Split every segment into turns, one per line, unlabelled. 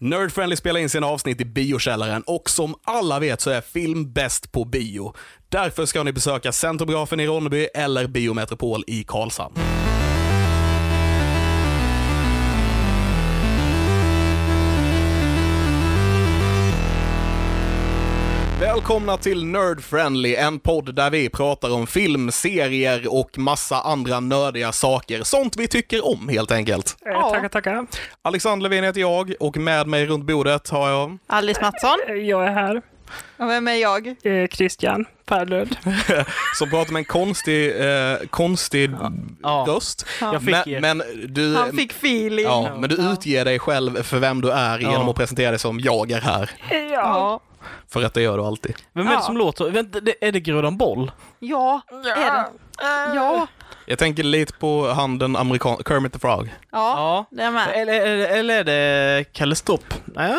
Nerdfriendly spelar in sina avsnitt i biokällaren och som alla vet så är film bäst på bio. Därför ska ni besöka Centrografen i Ronneby eller Biometropol i Karlshamn. Välkomna till Nerd Friendly, en podd där vi pratar om film, serier och massa andra nördiga saker. Sånt vi tycker om helt enkelt.
Ja. Eh, Tackar, tackar.
Alexander Levin heter jag och med mig runt bordet har jag...
Alice Mattsson.
Eh, Jag är här.
Och vem är jag?
Eh, Christian Perlund.
som pratar med en konstig, eh, konstig
Ja.
röst.
Jag fick
men,
er.
men du,
Han fick feeling.
ja, men du utger dig själv för vem du är
Ja.
genom att presentera dig som jag är här.
Eh, Ja.
Ja.
För att det gör du alltid.
Vem är det
Ja.
som låter? Vänta, det, är det Grödan Boll?
Ja. Är det? Ja.
Jag tänker lite på han den amerikan... Kermit the Frog.
Ja. Det är med.
Eller, eller, eller är det Kalle Stopp? Nej,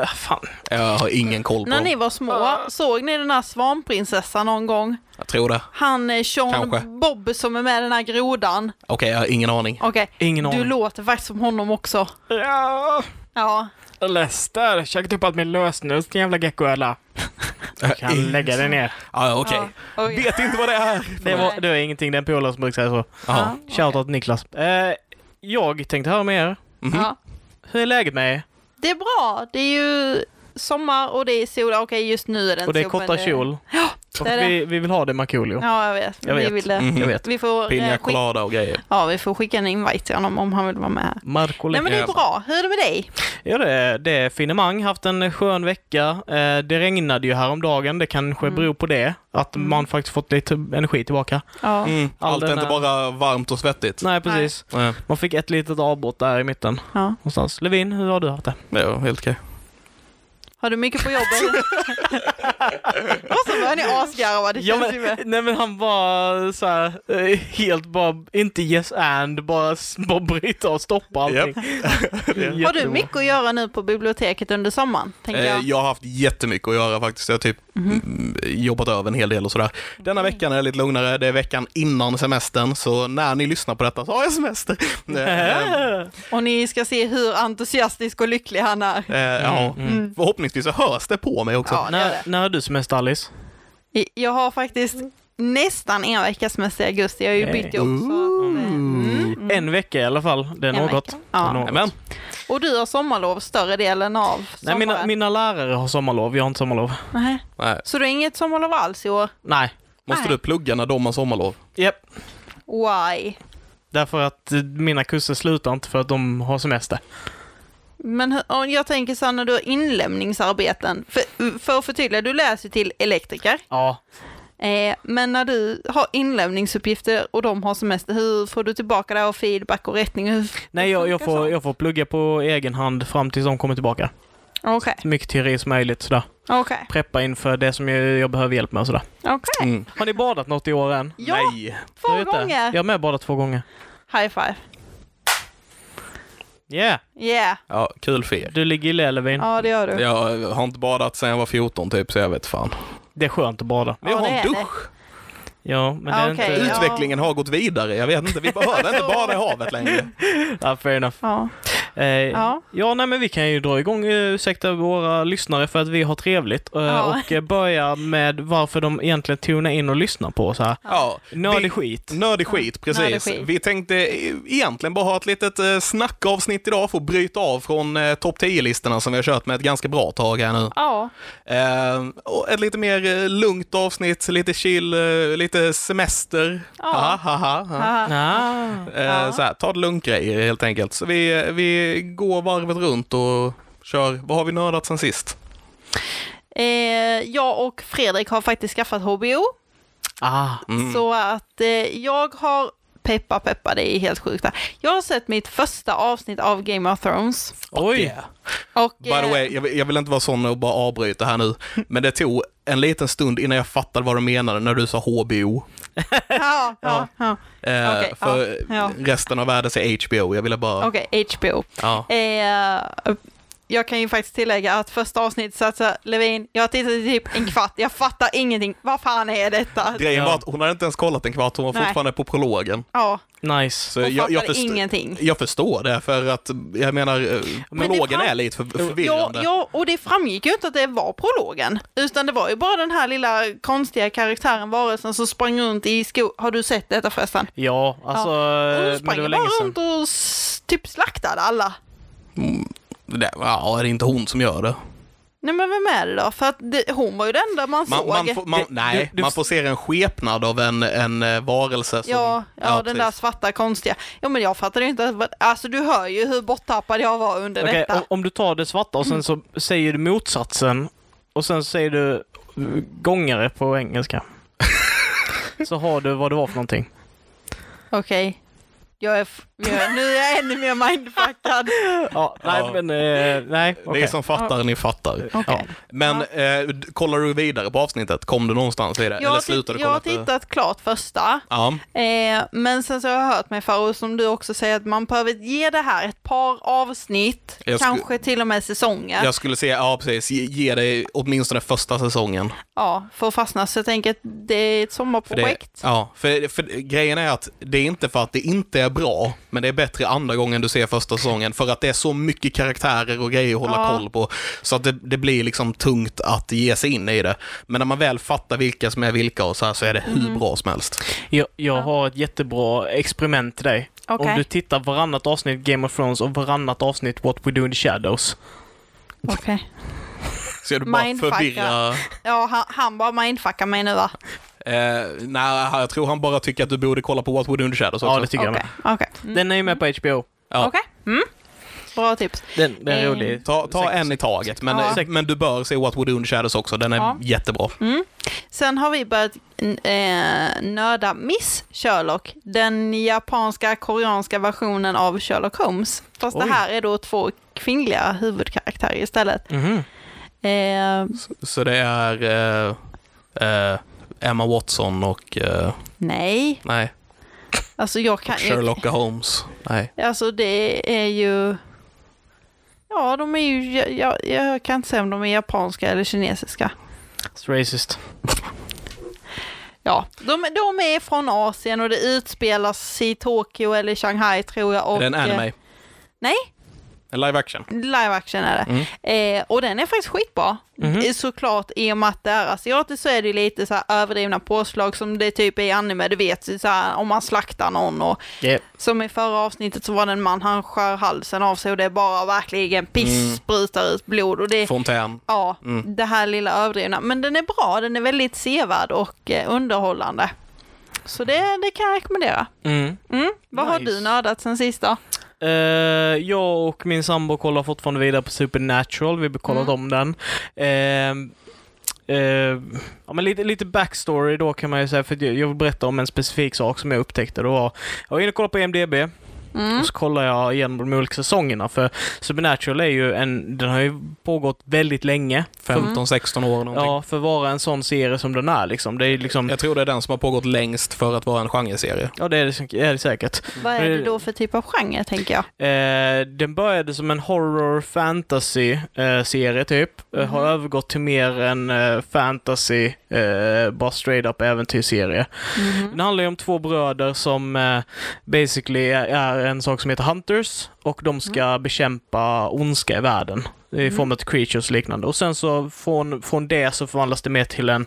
äh, fan.
Jag har ingen koll på
När ni
honom.
var små, såg ni den här svanprinsessan någon gång?
Jag tror det.
Han eh, Sean
Kanske.
Bob som är med i den här grodan.
Okej, jag har ingen aning.
Okej,
Ingen
du
aning.
låter faktiskt som honom också.
ja.
Ja,
Lester, käkat upp allt min lösnus, din jävla geckoöla. Kan lägga dig ner.
Ja, okej.
ja. Oj.
Vet inte vad det är.
Det var, det var ingenting, den polaren som brukar säga så.
Ja.
Shoutout till Niklas. Eh, jag tänkte höra med er.
Mhm.
Ja.
Hur är läget med er?
Det är bra, det är ju sommar och det är sol. Okej, just nu är det inte
Och det är
sol, men
korta kjol. Ja, och
det är det.
Vi, vi vill ha det Markoolio.
Ja, jag vet.
Jag vet.
Vi, vill, det.
Mhm.
Jag vet.
vi, får,
Pina
eh, skick...
colada och grejer.
ja, vi får skicka en invite till honom om han vill vara med här.
Marco
Nej men det är
Lekkinen.
bra, hur är det med dig?
Ja, det är, det är finemang. Haft en skön vecka. Eh, det regnade ju häromdagen. Det kanske
Mm.
beror på det. Att man faktiskt fått lite energi tillbaka.
Ja.
Mm.
All
Allt är
den
inte
här-
bara varmt och svettigt.
Nej, precis.
Nej.
Man fick ett litet avbrott där i mitten
Ja.
någonstans. Levin, hur har du haft det?
Det var helt okej.
Har du mycket på jobbet? och så börjar ni asgarva, det känns ju med.
nej men han var så här, eh, helt bara, inte yes and, bara, s- bara bryta och stoppa allting.
Har du mycket att göra nu på biblioteket under sommaren? Tänker
Eh,
jag.
Jag har haft jättemycket att göra faktiskt. Jag har typ
Mm-hmm.
mm, jobbat över en hel del och sådär. Denna
Mm.
veckan är det lite lugnare. Det är veckan innan semestern, så när ni lyssnar på detta så har jag semester. Eh, eh,
Och ni ska se hur entusiastisk och lycklig han är.
eh, ja. Förhoppningsvis så hörs det på mig också.
Mm. Ja, det är
mm. när,
det.
när har du semester Alice?
I- Jag har faktiskt nästan en veckas semester i augusti, jag har ju
Hey.
bytt jobb. Så.
En vecka i alla fall, det är
Mm. En
något.
vecka. Ja.
Det är något.
Jajamän.
Och du har sommarlov större delen av
Nej,
sommaren?
mina, mina lärare har sommarlov, jag har inte sommarlov.
Nej.
Nej.
Så du har inget sommarlov alls i år?
Nej.
Måste
Nej.
du plugga när de har sommarlov?
Japp.
Why?
Därför att eh, mina kurser slutar inte för att de har semester.
Men hur- om jag tänker så här när du har inlämningsarbeten, för, för att förtydliga, du läser ju till elektriker,
Ja.
eh, men när du har inlämningsuppgifter och de har semester, hur får du tillbaka det och feedback och rättning? Hur-
Nej, jag, jag,
funkar
får,
sånt?
jag får plugga på egen hand fram tills de kommer tillbaka.
Okej,
Så mycket teori som möjligt sådär.
okej,
Preppa inför det som jag, jag behöver hjälp med och sådär.
okej.
Mm.
Har ni badat något i år än?
Ja,
Nej.
två
Jag vet det. Jag
gånger!
har med badat två gånger.
High five.
Yeah,
Yeah,
Ja, kul för er.
du ligger i Lelevin.
ja det gör du.
Jag har inte badat sedan jag var 14 typ, så jag vet fan.
Det är skönt att bada.
Men jag
Ja,
har
det
en
är det.
dusch.
Ja, men
Eh, Ja,
det är
okej.
inte...
Ja.
Utvecklingen har gått vidare. Jag vet inte, vi behöver inte bada i havet längre.
Ja, fair enough.
Ja.
Eh, ja.
Ja.
nej men vi kan ju dra igång, eh, ursäkta våra lyssnare för att vi har trevligt. Eh,
Ja.
Och eh, börja med varför de egentligen tunar in och lyssnar på oss här.
Ja.
Nördig
Vi-
skit.
Nördig skit, precis.
Nördig skit.
Vi tänkte eh, egentligen bara ha ett litet eh, snackavsnitt idag för att bryta av från eh, topp 10-listorna som vi har kört med ett ganska bra tag här nu.
ja,
Eh, och ett lite mer eh, lugnt avsnitt, lite chill, eh, lite semester. Ha, ha, ha, ha.
haha.
Ah.
Eh, Så här, ta det lugnt grejer helt enkelt. Så vi, eh, vi går varvet runt och kör, vad har vi nördat sen sist?
Eh, jag och Fredrik har faktiskt skaffat HBO,
Ah.
Mm.
så att eh, jag har Peppa, peppa, det är helt sjukt. där. Jag har sett mitt första avsnitt av Game of Thrones.
Oj!
Och, eh,
By the way, jag, vill- jag vill inte vara sån och bara avbryta här nu, men det tog en liten stund innan jag fattade vad du menade när du sa HBO.
ja, ja, ja.
Eh,
Okej,
för
ja, ja.
resten av världen säger HBO, jag ville bara...
Okej, HBO.
Ja.
Eh, jag kan ju faktiskt tillägga att första avsnittet satsar Levin, jag har tittat i typ en kvart, jag fattar ingenting, vad fan är detta?
Grejen var att hon hade inte ens kollat en kvart, hon var
Eh, Nej.
fortfarande på prologen.
Ja,
Nice.
Så
hon
jag, jag,
fattar
först-
ingenting.
jag förstår det, för att jag menar, eh,
det
prologen
fram-
är lite för,
Ja,
förvirrande.
ja, och det framgick ju inte att det var prologen, utan det var ju bara den här lilla konstiga karaktären, varelsen som sprang runt i skogen. Har du sett detta förresten?
Ja, alltså...
Och
eh,
hon
Men det var
sprang
länge
bara
sedan.
runt och s- typ slaktade alla.
Det, ja, det är inte hon som gör det.
Nej men vem är det då? För att det, hon var ju den enda man,
Man,
såg.
man, får, man,
Det-
nej,
du- du-
man får se en skepnad av en, en eh, varelse som...
Ja, ja, den där
precis.
svarta konstiga. Ja men jag fattade ju inte, vad- alltså du hör ju hur borttappad jag var under
Okej,
detta.
om, om du tar det svarta och sen så säger du motsatsen och sen säger du eh, gångare på engelska. så har du vad det var för någonting.
Okej. Jag är, f- jag är, nu är jag ännu mer mindfuckad.
Ja, nej,
Ja.
men... eh, nej,
Det
okej.
är som fattar, ni fattar.
Okej.
Men eh, d- kollar du vidare på avsnittet? Kom du någonstans i det?
Jag,
Eller
har
slutade
titt-
du
jag
kolla
har
efter-
tittat klart första,
Ja,
eh, men sen så har jag hört mig Farao, som du också säger, att man behöver ge det här ett par avsnitt,
Jag sku-
kanske till och med säsonger,
jag skulle säga, ja precis, ge, ge dig åtminstone första säsongen.
ja, för att fastna. Så jag tänker att det är ett
För det,
sommarprojekt.
ja, för, för grejen är att det är inte för att det inte är bra, men det är bättre andra gången du ser första säsongen för att det är så mycket karaktärer och grejer att hålla
Ja.
koll på så att det, det blir liksom tungt att ge sig in i det. Men när man väl fattar vilka som är vilka och så här så är det hur
Mm.
bra som helst.
Jag, jag har ett jättebra experiment till dig.
Okej.
Om du tittar varannat avsnitt Game of Thrones och varannat avsnitt What We Do In The Shadows.
Okej.
Ska du bara
Mindfucka.
förvirra?
Ja, han, han bara mindfuckar mig nu va?
Eh, nej, jag tror han bara tycker att du borde kolla på What Would Under Shadows också.
Ja, det tycker jag
Okej, Mm.
med.
okej.
Den är ju med på HBO.
Ja.
Okej. Mm. Bra tips.
Den, den är
Eh,
rolig.
Ta, ta
Säkert.
en i taget, men,
Ja.
men du bör se What Would Under Shadows också. Den är
Ja.
jättebra.
Mm. Sen har vi börjat eh, nörda Miss Sherlock, den japanska koreanska versionen av Sherlock Holmes. Fast
Oj.
det här är då två kvinnliga huvudkaraktärer istället.
Mhm.
Eh,
Så det är eh, eh, Emma Watson och... eh,
nej,
nej,
alltså jag kan ju...
Sherlock Holmes. Nej.
Alltså det är ju... Ja, de är ju... Jag, jag, jag kan inte säga om de är japanska eller kinesiska.
It's racist.
Ja, de, de är från Asien och det utspelas i Tokyo eller Shanghai tror jag. Och,
är det en anime?
eh, nej.
En live action?
Live action är
Mm.
det. Eh, och den är faktiskt skitbra.
Mhm.
Eh, Såklart, i och med att det är asiatiskt så är det ju lite så här överdrivna påslag som det typ är i anime, du vet, så här, om man slaktar någon och
Yeah.
som i förra avsnittet så var det en man, han skär halsen av sig och det är bara verkligen piss,
Mm.
sprutar ut blod och det
Fontän?
Ja,
Mm.
det här lilla överdrivna. Men den är bra, den är väldigt sevärd och eh, underhållande. Så det, det kan jag rekommendera.
Mm.
Mm. Vad har
Nice.
du nördat sen sist då?
Eh, jag och min sambo kollar fortfarande vidare på Supernatural. Vi har kollat
Mm.
om den. Eh, eh, ja, men lite, lite backstory då kan man ju säga. För att jag jag vill berätta om en specifik sak som jag upptäckte. Det var, jag var inne och kollade på IMDB.
Mm.
Mm.
Och så kollar jag igenom de olika säsongerna. För Supernatural är ju en, den har ju pågått väldigt länge. För,
15-16 år någonting.
ja, för att vara en sån serie som den är liksom. Det är liksom,
Jag tror det är den som har pågått längst för att vara en genreserie.
ja det är det, säk- är det säkert.
Vad är
Men-
det då för typ av genre tänker jag?
Eh, den började som en horror fantasy eh, serie typ.
Mm-hmm.
Eh, har övergått till mer en eh, fantasy, eh, bara straight up äventyrsserie. Den Mm. handlar ju om två bröder som eh, basically är- är en sak som heter Hunters och de ska
Mm.
bekämpa ondska i världen i form av creatures och liknande. Och sen så från, från det så förvandlas det mer till en,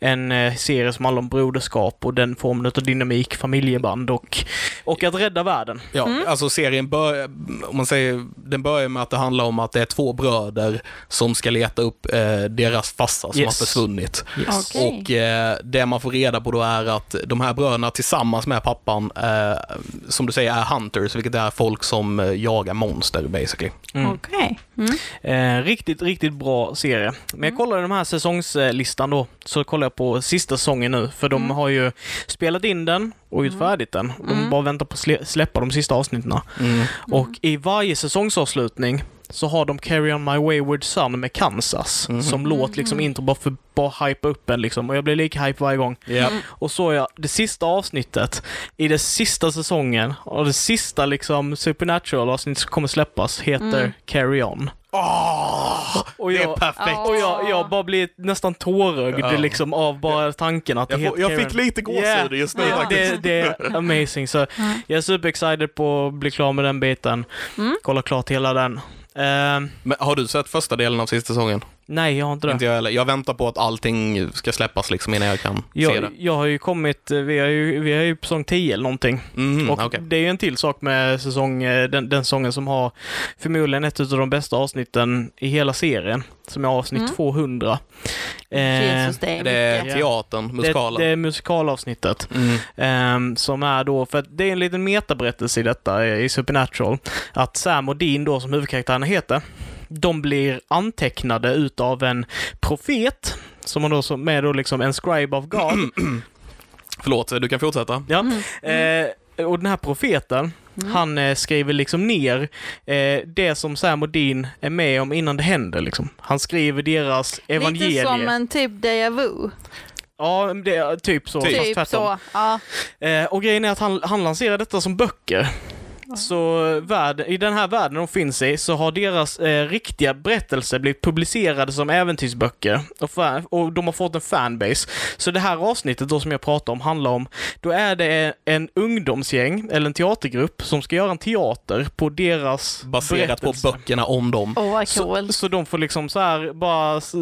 en eh, serie som handlar om broderskap och den formen av dynamik, familjeband och, och att rädda världen.
Ja, alltså serien börjar, om man säger, den börjar med att det handlar om att det är två bröder som ska leta upp eh, deras farsa som
Yes.
har försvunnit.
Okej.
Och eh, det man får reda på då är att de här bröderna tillsammans med pappan, eh, som du säger, är hunters, vilket är folk som eh, jagar monster basically.
Mm.
Okej. Mm.
Eh, riktigt, riktigt bra serie. Men jag kollar den här säsongslistan då, så kollar jag på sista säsongen nu, för de har ju spelat in den och gjort färdigt den. De bara väntar på att slä- släppa de sista avsnitten. Och i varje säsongsavslutning så har de Carry On My Wayward Son med Kansas som låt liksom intro bara för bara hypa upp en liksom och jag blir lika hype varje gång.
Ja.
Mm.
Och så ja, det sista avsnittet i den sista säsongen och det sista liksom Supernatural avsnittet som kommer släppas heter Carry On.
Åh!
Och
det är
jag-
perfekt.
Ja.
Och jag, jag bara blir nästan tårögd
Ja.
liksom av bara tanken att
Jag,
det är
får, jag
Karen.
fick lite gåshud
Yeah.
just nu
Det,
faktiskt.
det, det är amazing. Så jag är superexcited på att bli klar med den biten.
Mm.
Kolla klart hela den. Ehm,
Men har du sett första delen av sista säsongen?
nej, jag har inte det.
Inte jag heller. Jag väntar på att allting ska släppas liksom innan jag kan se det.
Jag, jag har ju kommit, eh, vi är ju, vi är ju på säsong 10 eller någonting.
Mm,
och
okej.
det är ju en till sak med säsong, eh, den, den säsongen som har förmodligen ett av de bästa avsnitten i hela serien, som är avsnitt
Mm.
200. Eh,
Jesus, det är
Det är
mycket.
teatern, musikalen.
Det, det är musikalavsnittet.
Mm.
Ehm, som är då, för att det är en liten metaberättelse i detta eh, i Supernatural, att Sam och Dean då som huvudkaraktärerna heter, de blir antecknade utav en profet som har då som är då liksom en scribe of God.
Förlåt, du kan fortsätta.
Ja.
Mm.
Eh, och den här profeten, han eh, skriver liksom ner eh, det som Sam och Dean är med om innan det händer liksom. Han skriver deras
Lite som
evangelie.
en typ déjà vu.
Ja, det är typ så.
Typ.
fast
Typ
tvärtom.
så. Ja.
Eh, och grejen är att han, han lanserar detta som böcker. Så eh, värld, i den här världen de finns i så har deras eh, riktiga berättelser blivit publicerade som äventyrsböcker och, fa- och de har fått en fanbase. Så det här avsnittet då som jag pratar om handlar om, då är det en, en ungdomsgäng eller en teatergrupp som ska göra en teater på deras
Baserat på
berättelse.
böckerna om dem.
Åh, vad
Så,
coolt.
så de får liksom så här bara s-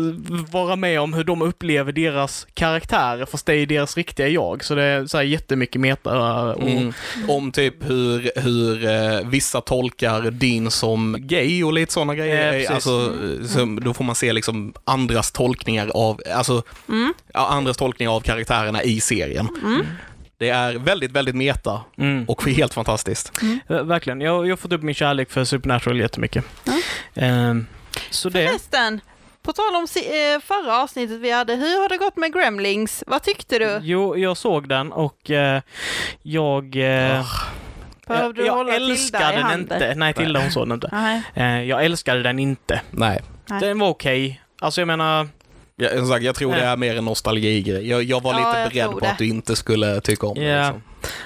vara med om hur de upplever deras karaktärer, fast det är deras riktiga jag. Så det är så här jättemycket meta eh, och
Mm. Om typ hur, hur eh, vissa tolkar din som gay och lite sådana
Ja,
grejer.
precis. Mm.
alltså, eh, så, då får man se liksom andras tolkningar av, alltså,
Mm.
ja, andras tolkningar av karaktärerna i serien. Det är väldigt, väldigt meta
Mm.
och helt fantastiskt.
Ver- Verkligen. Jag, jag har fått upp min kärlek för Supernatural jättemycket. Ehm, så det.
Förresten, på tal om si- eh, förra avsnittet vi hade, hur har det gått med Gremlings? Vad tyckte du?
Jo, jag såg den och eh, jag... eh,
Behövde du
jag, jag
hålla Tilda
älskade
i
den
handen?
inte. Nej, Tilda hon såg den inte.
Nej.
Eh, jag älskade den inte.
Nej,
Nej.
Den var okej. Alltså jag menar,
jag, som sagt, jag tror det är mer en nostalgigrej. Jag, jag var
Ja,
lite
jag
beredd
tror
på att
det.
du inte skulle tycka om
Ja.
det. Liksom.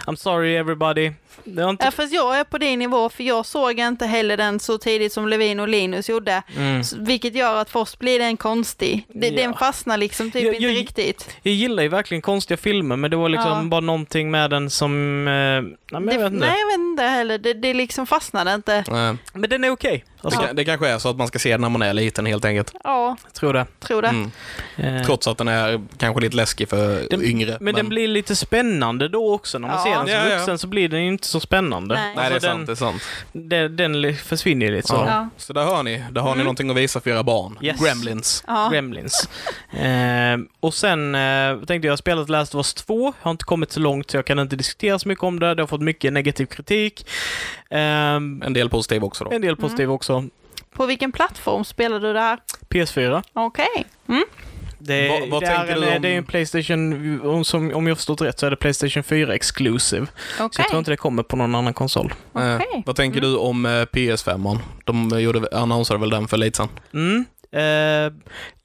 I'm sorry everybody. Det var inte...
Ja, fast jag är på din nivå, för jag såg inte heller den så tidigt som Levin och Linus gjorde.
Mm.
Så- Vilket gör att för oss blir den konstig. De-
Ja.
Den fastnar liksom typ
Jag-
inte
jag-
riktigt.
Jag gillar ju verkligen konstiga filmer, men det var liksom
Ja.
bara någonting med den som... Eh, nej, men jag
det,
vet inte.
nej, jag vet inte heller. Det, det liksom fastnade inte.
Nej.
Men den är okej.
Det,
Alltså,
kan- det kanske är så att man ska se den när man är liten helt enkelt.
Ja,
jag tror det.
tror det.
Mm.
Eh,
Trots att den är kanske lite läskig för
Den-
yngre.
men, den blir lite spännande då också. När man
Ja.
ser den som
Ja, ja.
vuxen så blir den ju inte så spännande.
Nej.
Nej, det är
Alltså,
sant. Det är sant.
Den, den, den li- försvinner ju lite så.
Ja.
Ja.
Så där hör ni, där har ni någonting att visa för era barn.
Mm. Yes.
Gremlins.
Ja.
Gremlins. Eh, och sen eh, tänkte jag, jag har spelat Last of Us 2. Jag har inte kommit så långt så jag kan inte diskutera så mycket om det. Det har fått mycket negativ kritik. Ehm,
En del positiv också då.
en del positiv också.
På vilken plattform spelar du det här?
PS4.
Okej. Mm.
Det,
Vad- vad
det, är
tänker
en,
du om-
det är en Playstation, om- som, om jag förstått rätt så är det Playstation 4 exclusive. Så
Okej.
jag tror inte det kommer på någon annan konsol.
Eh,
okej.
vad
Mm.
tänker du om eh, PS5? -an? De gjorde, annonserade väl den för lite sen?
Mm. Eh,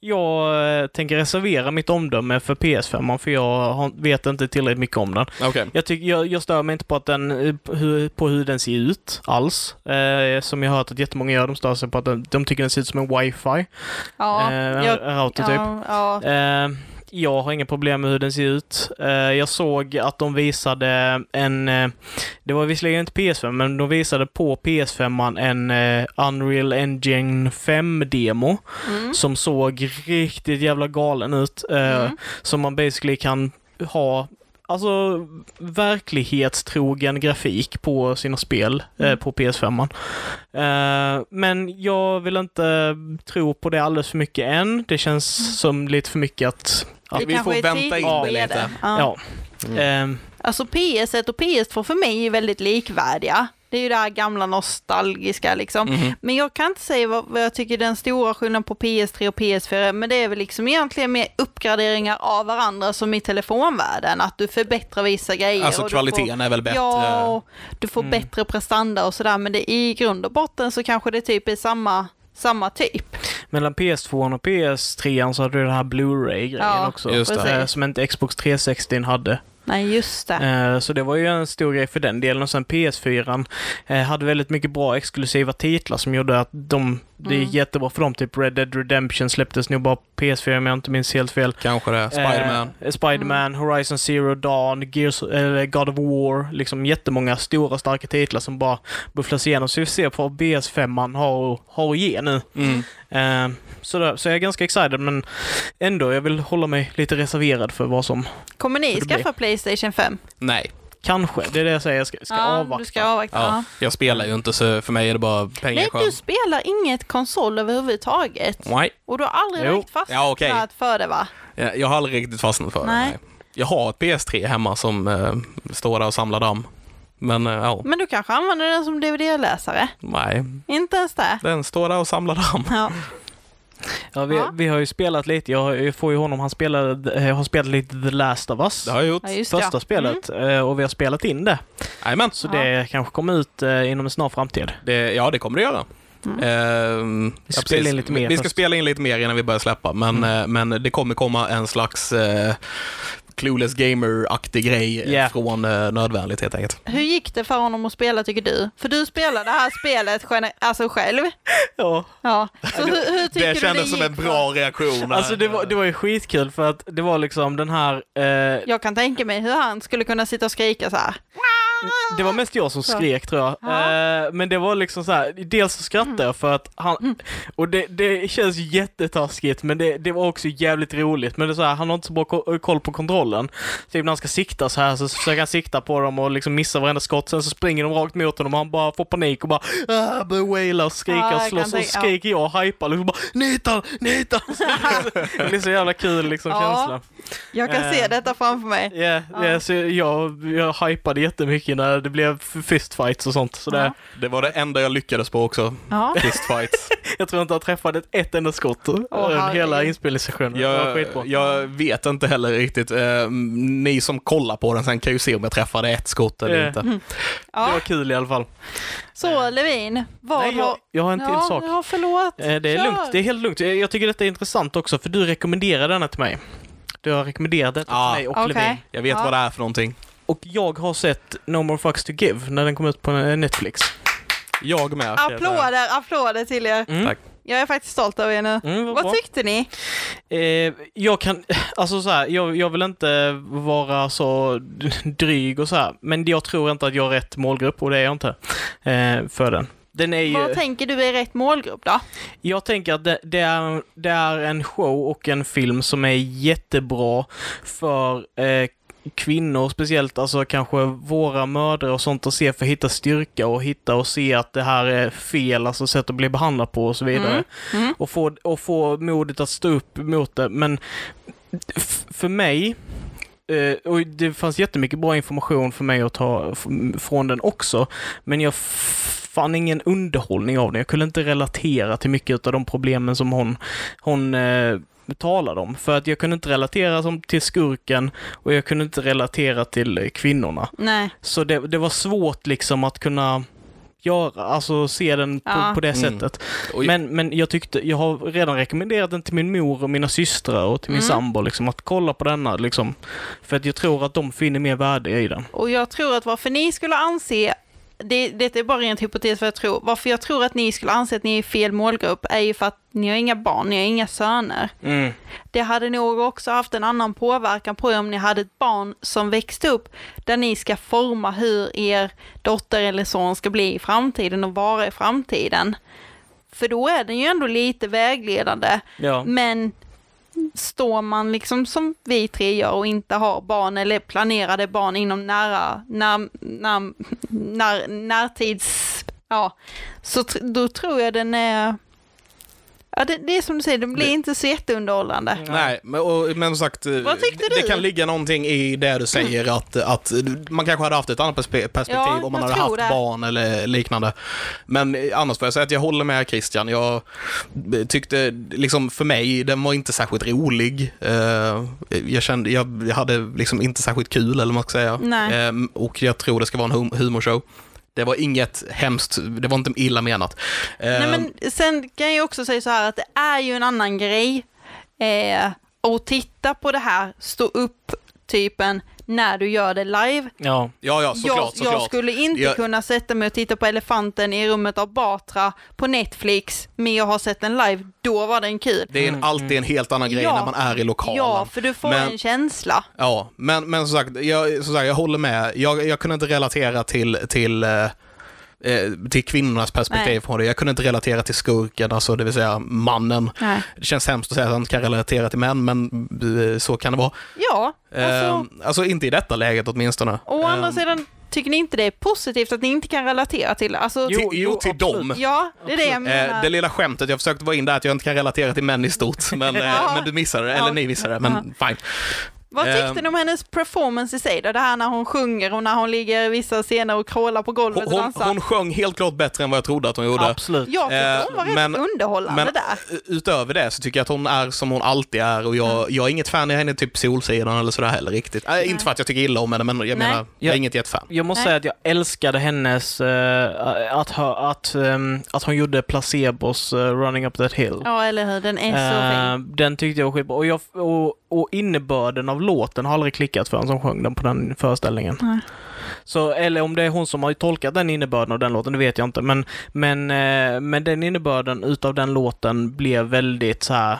jag eh, tänker reservera mitt omdöme för PS5 för jag har, vet inte tillräckligt mycket om den.
Okej.
Jag, tycker, jag, jag stör mig inte på, att den, eh, på hur, på hur den ser ut alls. Eh, som jag har hört att jättemånga gör, de stör sig på att den, de tycker den ser ut som en wifi.
Ja,
eh,
jag,
en router typ.
ja, ja.
Eh, jag har inga problem med hur den ser ut. Eh, jag såg att de visade en, eh, det var visserligen inte PS5, men de visade på PS5 en eh, Unreal Engine 5-demo
Mm.
som såg riktigt jävla galen ut. Eh,
Mm.
Som man basically kan ha Alltså verklighetstrogen grafik på sina spel eh, på PS5. Eh, men jag vill inte tro på det alldeles för mycket än. Det känns som lite för mycket att...
Ja,
Det
vi
kanske
får
är
vänta in det
tidigt skede.
lite.
Ja.
Ja. Eh,
Alltså PS1 och PS2 för mig är väldigt likvärdiga. Det är ju det här gamla nostalgiska
Mm.
liksom.
Mhm.
Men jag kan inte säga vad, vad jag tycker den stora skillnaden på PS3 och PS4 är, men det är väl liksom egentligen mer uppgraderingar av varandra som i telefonvärlden. Att du förbättrar vissa grejer.
Alltså
och du
kvaliteten
får,
är väl bättre? Mm.
Ja, och du får bättre prestanda och sådär. Men det, i grund och botten så kanske det typ är samma, samma typ.
mellan PS2 och PS3 så hade du den här Blu-ray-grejen
Ja,
också.
just det.
Eh, som inte Xbox 360 hade.
Nej, just det.
Eh, Så det var ju en stor grej för den delen. Och sen PS4 eh, hade väldigt mycket bra exklusiva titlar som gjorde att de Det gick jättebra för dem. Typ Red Dead Redemption släpptes nog bara på PS4 om jag inte minns helt fel.
Kanske det. Spiderman.
Eh, Spiderman, Horizon Zero Dawn, Gears, eller God of War. Liksom jättemånga stora starka titlar som bara bufflas igenom. Så vi får se vad BS5 har, har att ge nu.
Mm.
Eh, så, där, så jag är ganska excited men ändå, jag vill hålla mig lite reserverad för vad som
Kommer ni
Så det blir-
skaffa Playstation 5?
Nej,
kanske, det är det jag säger, jag ska, ska
Du
avvakta.
ska avvakta.
ja.
ja.
jag spelar ju inte så för mig är det bara pengar
Nej,
kvar.
du spelar inget konsol överhuvudtaget.
Nej,
Och du har aldrig
Jo.
riktigt fastnat
Ja, okej.
för det va?
Eh, jag jag har aldrig riktigt fastnat för det.
Nej.
Nej. Jag har ett PS3 hemma som eh, står där och samlar damm. Men eh, ja,
Men du kanske använder den som DVD-läsare?
nej.
Inte ens det?
Den står där och samlar damm.
Ja.
Ja, vi,
Ja.
vi har ju spelat lite, jag har- jag får ju honom, han spelade, eh, har spelat lite The Last of Us.
Det har jag gjort.
ja, Mm. just
Första
ja.
spelet eh, och vi har spelat in det.
Jajamän.
Så
Ja.
det kanske kommer ut eh, inom en snar framtid.
Det, ja, det kommer det göra.
Mm.
Ehm,
Vi ska
ja,
spela
precis.
in lite mer
vi ska
först. Mm.
spela in lite mer innan vi börjar släppa, men, eh, men det kommer komma en slags eh, Clueless Gamer-aktig grej eh,
Yeah.
från eh, Nödvändigt helt enkelt.
Hur gick det för honom att spela tycker du? För du spelar det här spelet gene- alltså själv.
Ja.
Ja. Så hur, hur tycker
det
du det
kändes
gick?
som en
för-
bra reaktion.
Alltså det var, det var ju skitkul för att det var liksom den här... Eh,
Jag kan tänka mig hur han skulle kunna sitta och skrika så här.
det var mest jag som skrek tror jag. Eh, men det var liksom så här, dels så
Mm.
skrattade jag för att han... Och det, det känns jättetaskigt men det, det var också jävligt roligt. Men det är så här, han har inte så bra ko- eh, koll på kontrollen. Typ när han ska sikta så här så försöker han sikta på dem och liksom missar varenda skott. Sen så springer de rakt mot honom och han bara får panik och bara ah, börjar waila och
Ja,
skrika
jag
och
kan
slåss. Och
tänka- ja.
skriker jag och hypar liksom bara nitan, nitan. Det blir så jävla kul liksom
Ja.
känslan.
Jag kan se
Eh.
detta framför mig.
Ja,
Ja.
ja, så jag, jag hypade jättemycket när det blev f- fistfights och sånt. Så det,
Ja.
Det var det enda jag lyckades på också.
Ja.
Fistfights.
Jag tror inte jag träffade ett, ett enda skott under
herregud.
hela inspelningssessionen. det var skitbra.
jag, jag vet inte heller riktigt. Eh, ni som kollar på den sen kan ju se om jag träffade ett skott eller
Eh.
inte.
Det var
ja.
kul i alla fall.
Så Levin, vad
Nej, jag,
har...
jag har en till
ja,
sak.
Ja, förlåt.
Eh, Det är
Kör.
lugnt, det är helt lugnt. Jag- Jag tycker detta är intressant också, för du rekommenderade denna till mig. Du har rekommenderat detta
Ja.
till mig och
Okej.
Levin.
Jag vet
Ja.
vad det är för någonting.
Och jag har sett No More Fucks To Give när den kom ut på eh, Netflix.
Jag med.
Applåder, applåder till er.
Mm.
Tack.
Jag är faktiskt stolt över er nu.
Mm, vad bra.
Vad tyckte ni?
Eh, jag kan, alltså så här, jag, jag vill inte vara så dryg och så här, men jag tror inte att jag är rätt målgrupp och det är jag inte eh, för den. Den är ju,
Vad tänker du är rätt målgrupp då?
jag tänker att det, det, är, det är en show och en film som är jättebra för eh, kvinnor, speciellt alltså kanske våra mödrar och sånt att se för att hitta styrka och hitta och se att det här är fel, alltså sätt att bli behandlad på och så vidare.
Mm, mm.
Och, få, och få modet att stå upp mot det. Men f- för mig, eh, och det fanns jättemycket bra information för mig att ta f- från den också, men jag f- fann ingen underhållning av den. Jag kunde inte relatera till mycket av de problemen som hon, hon eh, talade om. För att jag kunde inte relatera som, till skurken och jag kunde inte relatera till eh, kvinnorna.
Nej.
Så det, det var svårt liksom att kunna göra, alltså se den på,
Ja.
på det
Mm.
sättet.
Och-
Men, men jag tyckte, jag har redan rekommenderat den till min mor och mina systrar och till min
Mm.
sambo liksom, att kolla på denna liksom. För att jag tror att de finner mer värde i den.
Och jag tror att varför ni skulle anse, det, det är bara rent hypotes vad jag tror, varför jag tror att ni skulle anse att ni är fel målgrupp är ju för att ni har inga barn, ni har inga söner.
Mm.
Det hade nog också haft en annan påverkan på er om ni hade ett barn som växte upp där ni ska forma hur er dotter eller son ska bli i framtiden och vara i framtiden. För då är den ju ändå lite vägledande.
Ja.
Men står man liksom som vi tre gör och inte har barn eller planerade barn inom nära, när, när, när, närtids, ja, så tr- då tror jag den är, ja det, det är som du säger, den blir inte så jätteunderhållande.
Nej, men, och, men som sagt, eh,
Vad tyckte
det- det
du? Mm.
kan ligga någonting i det du säger att, att man kanske hade haft ett annat perspe- perspektiv
Ja,
om man
jag
hade haft
tror det.
barn eller liknande. Men eh, annars får jag säga att jag håller med Christian. Jag eh, tyckte, liksom för mig, den var inte särskilt rolig. Eh, Jag kände, jag jag hade liksom inte särskilt kul eller vad man ska säga.
Nej.
Eh, Och jag tror det ska vara en hum- humorshow. Det var inget hemskt, det var inte illa menat. Eh,
Nej, men sen kan jag också säga så här att det är ju en annan grej eh, att titta på det här stå upp typen när du gör det live.
Ja.
Ja, ja, såklart,
jag,
såklart.
jag skulle inte
Jag-
kunna sätta mig och titta på Elefanten i rummet av Batra på Netflix, men jag har sett den live, då var den kul.
Det är en, alltid en helt annan grej
Mm, Ja.
när man är i lokalen.
Ja, för du får
Men-
en känsla.
Ja, men, men som, sagt, jag, som sagt, jag håller med. Jag, jag kunde inte relatera till, till, eh, eh, till kvinnornas perspektiv
Nej.
på det. Jag kunde inte relatera till skurken, alltså det vill säga mannen.
Nej.
Det känns hemskt att säga att han kan relatera till män, men eh, så kan det vara.
Ja, alltså,
Alltså, alltså inte i detta läget åtminstone.
å andra
Ehm,
sidan, tycker ni inte det är positivt att ni inte kan relatera till det? Alltså,
Till,
Jo,
jo,
jo,
till dem.
ja, det är det jag
Eh,
menar.
Det lilla skämtet jag försökte vara in där att jag inte kan relatera till män i stort, men, eh,
Ja.
men du missade det,
Ja.
eller ni missade det, men fine.
Vad tyckte
Ehm.
ni om hennes performance i sig då? Det här när hon sjunger och när hon ligger i vissa scener och krålar på golvet och
Hon,
dansar.
hon sjöng helt klart bättre än vad jag trodde att hon gjorde.
Absolut.
jag tyckte
eh,
hon var
men-
rätt underhållande där.
utöver det så tycker jag att hon är som hon alltid är och jag,
Mm.
jag är inget fan av henne, typ Solsidan eller sådär heller riktigt. Äh, inte för att jag tycker illa om henne, men jag
Nej.
menar, jag är
Ja.
inget jättefan.
Jag måste
Nej.
säga att jag älskade hennes, eh, att, hö- att, ehm, att hon gjorde Placebos eh, Running Up That Hill.
Ja, eller hur? Den är så
Eh,
Ehm.
fin.
den tyckte jag var skitbra. Och, jag, och, och innebörden av låten har aldrig klickat för han som sjöng den på den föreställningen.
Nej.
Så, eller om det är hon som har tolkat den innebörden av den låten, det vet jag inte. Men, men, eh, men den innebörden utav den låten blev väldigt så här.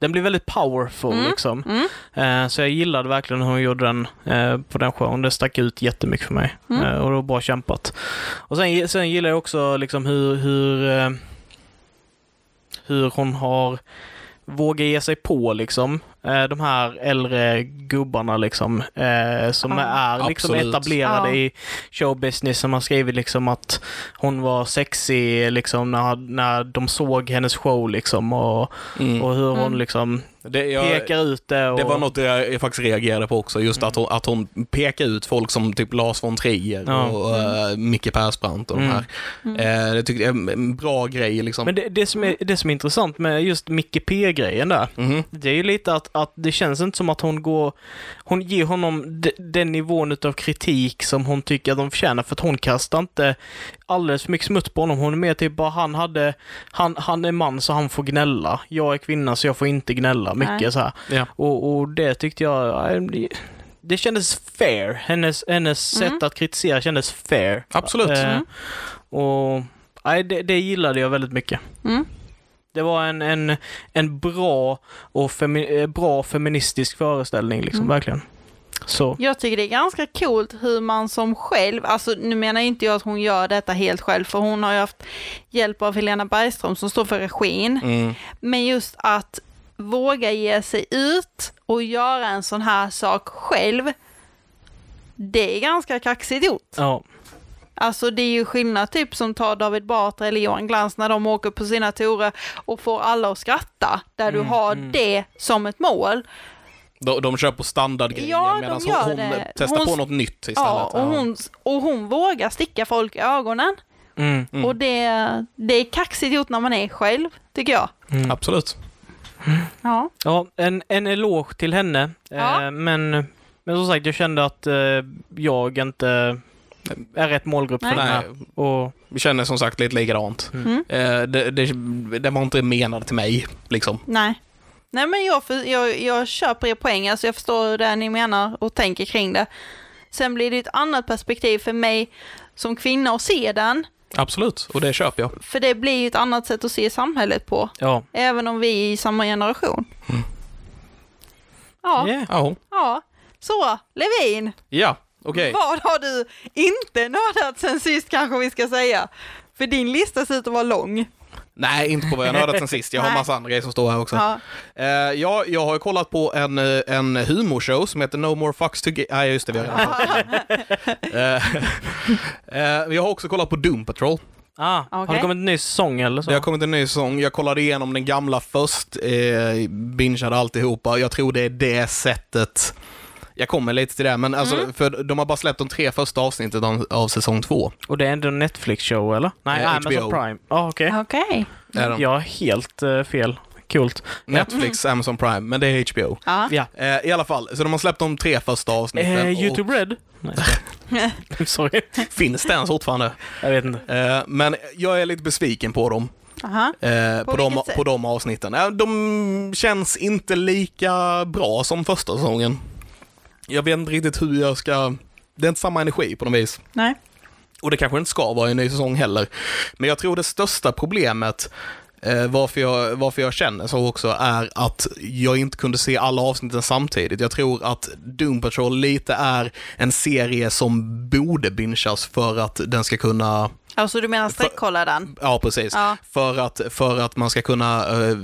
Den blev väldigt powerful
Mm.
liksom. Eh, så jag gillade verkligen hur hon gjorde den eh, på den showen. Det stack ut jättemycket för mig.
mm,
Eh, och det var bra kämpat. Och sen, sen gillar jag också liksom hur, hur, eh, hur hon har vågat ge sig på liksom eh, de här äldre gubbarna liksom eh, som
Ja.
är liksom
Absolut.
etablerade
Ja.
i showbusiness som har skrivit liksom att hon var sexig liksom när, när de såg hennes show liksom och, och hur hon
Mm.
liksom
Det, jag,
pekar ut det. Och,
Mm.
Mm.
det var något jag jag faktiskt reagerade på också, just att, hon, att hon pekar ut folk som typ Lars von Trier
Ja. Mm.
och
Mm.
eh, Micke Persbrandt och de här. Eh, det tyckte jag är en bra grej liksom.
Men det, det, som är, det som är intressant med just Micke P-grejen där,
Mhm.
det är ju lite att, att det känns inte som att hon går... Hon ger honom de, den nivån utav kritik som hon tycker att de förtjänar, för att hon kastar inte alldeles för mycket smutt på honom. Hon är mer typ bara, han hade... Han, han är man så han får gnälla. Jag är kvinna så jag får inte gnälla mycket
Nej.
så här.
Ja.
Och, och det tyckte jag... eh, det- Det kändes fair. Hennes, hennes sätt att kritisera kändes fair.
Absolut.
Eh, Och nej, det, det gillade jag väldigt mycket.
Mm.
Det var en, en, en bra, och femi- eh, bra feministisk föreställning, liksom,
Mm.
verkligen. Så.
Jag tycker det är ganska coolt hur man som själv, alltså nu menar inte jag att hon gör detta helt själv, för hon har ju haft hjälp av Helena Bergström som står för regin.
Mm.
Men just att våga ge sig ut och göra en sån här sak själv, det är ganska kaxigt gjort.
Ja.
Alltså det är ju skillnad typ som tar David Batra eller Johan Glans när de åker på sina turer och får alla att skratta, där du har det som ett mål.
De, de kör på standardgrejer
Ja, de
medan
gör
hon
det.
testar
Hon-
på något nytt istället.
Ja, och
Ja.
hon, och hon vågar sticka folk i ögonen.
Mm.
Och det, det är kaxigt gjort när man är själv, tycker jag.
Absolut.
Ja.
ja en, en eloge till henne.
Ja.
Eh, men, men som sagt, jag kände att eh, jag inte är rätt målgrupp för
Nej.
den här.
Nej,
Och,
Vi känner som sagt lite likadant.
Mm.
Eh, det, det, det var inte menad till mig, liksom.
Nej. Nej men jag, för, jag, jag köper er poäng, alltså jag förstår hur det är ni menar och tänker kring det. Sen blir det ett annat perspektiv för mig som kvinna att se den,
Absolut, och det köper jag.
för det blir ju ett annat sätt att se samhället på,
ja.
även om vi är i samma generation.
Mm.
Ja,
Yeah.
Ja,
ja. Så, Levin,
ja okej.
vad har du inte nördat sen sist kanske vi ska säga? För din lista ser ut att vara lång.
Nej, inte på vad jag nördat sen sist. Jag har
Nej.
massa andra grejer som står här också.
Ja.
Eh, ja, jag har ju kollat på en, eh, en humorshow som heter No More Fucks To Give... Nej, just det, vi har redan pratat om den. eh, eh, Jag har också kollat på Doom Patrol.
Ah, Har det
Okej.
kommit en ny sång eller så?
Det har kommit en ny säsong. Jag kollade igenom den gamla först, eh, bingeade alltihopa. Jag tror det är det sättet. Jag kommer lite till det, men alltså,
Mm.
för de har bara släppt de tre första avsnitten av, av säsong två.
Och det är ändå en Netflix-show eller? Nej,
Eh,
Amazon
HBO.
Prime. Ah, okej.
Okej.
Är de.
Jag har helt eh, fel. Coolt.
Netflix,
Mm.
Amazon Prime, men det är HBO.
Ja.
Ja.
Eh, I alla fall, så de har släppt de tre första avsnitten.
Eh, Youtube Red? Nej, jag skojar. Sorry.
Och finns det ens fortfarande?
Jag vet inte.
Eh, men jag är lite besviken på dem.
Aha.
Eh, på,
På
de,
vilket sätt?
på de avsnitten. Eh, de känns inte lika bra som första säsongen. Jag vet inte riktigt hur jag ska... Det är inte samma energi på något vis.
Nej.
Och det kanske inte ska vara i en ny säsong heller. Men jag tror det största problemet eh, varför, jag, varför jag känner så också är att jag inte kunde se alla avsnitten samtidigt. Jag tror att Doom Patrol lite är en serie som borde binchas för att den ska kunna
Alltså du menar streckkolla den?
Ja, precis.
Ja.
För, att, för att man ska kunna eh,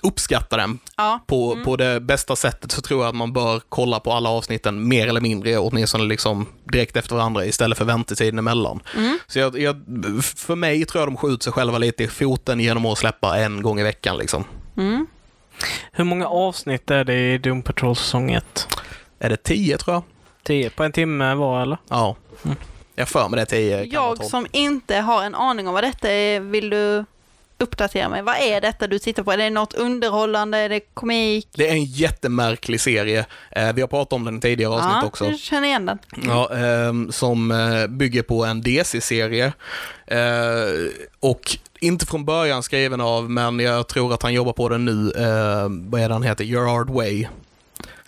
uppskatta den
Ja.
på, på det bästa sättet så tror jag att man bör kolla på alla avsnitten mer eller mindre, åtminstone liksom direkt efter varandra istället för väntetiden emellan.
Mm.
Så jag, jag, för mig tror jag de skjuter sig själva lite i foten genom att släppa en gång i veckan. Liksom.
Mm.
Hur många avsnitt är det i Doom Patrol säsong 1?
Är det tio tror jag?
10 på en timme var eller?
Ja. Mm. Jag för mig det är tio. kan vara
Jag
tolv.
som inte har en aning om vad detta är, vill du uppdatera mig? Vad är detta du tittar på? Är det något underhållande? Är det komik?
Det är en jättemärklig serie. Eh, vi har pratat om den i tidigare avsnitt också.
jag känner igen den.
Ja, ehm, som eh, bygger på en DC-serie. Eh, och inte från början skriven av, men jag tror att han jobbar på den nu. Eh, vad är det han heter? Gerard Way.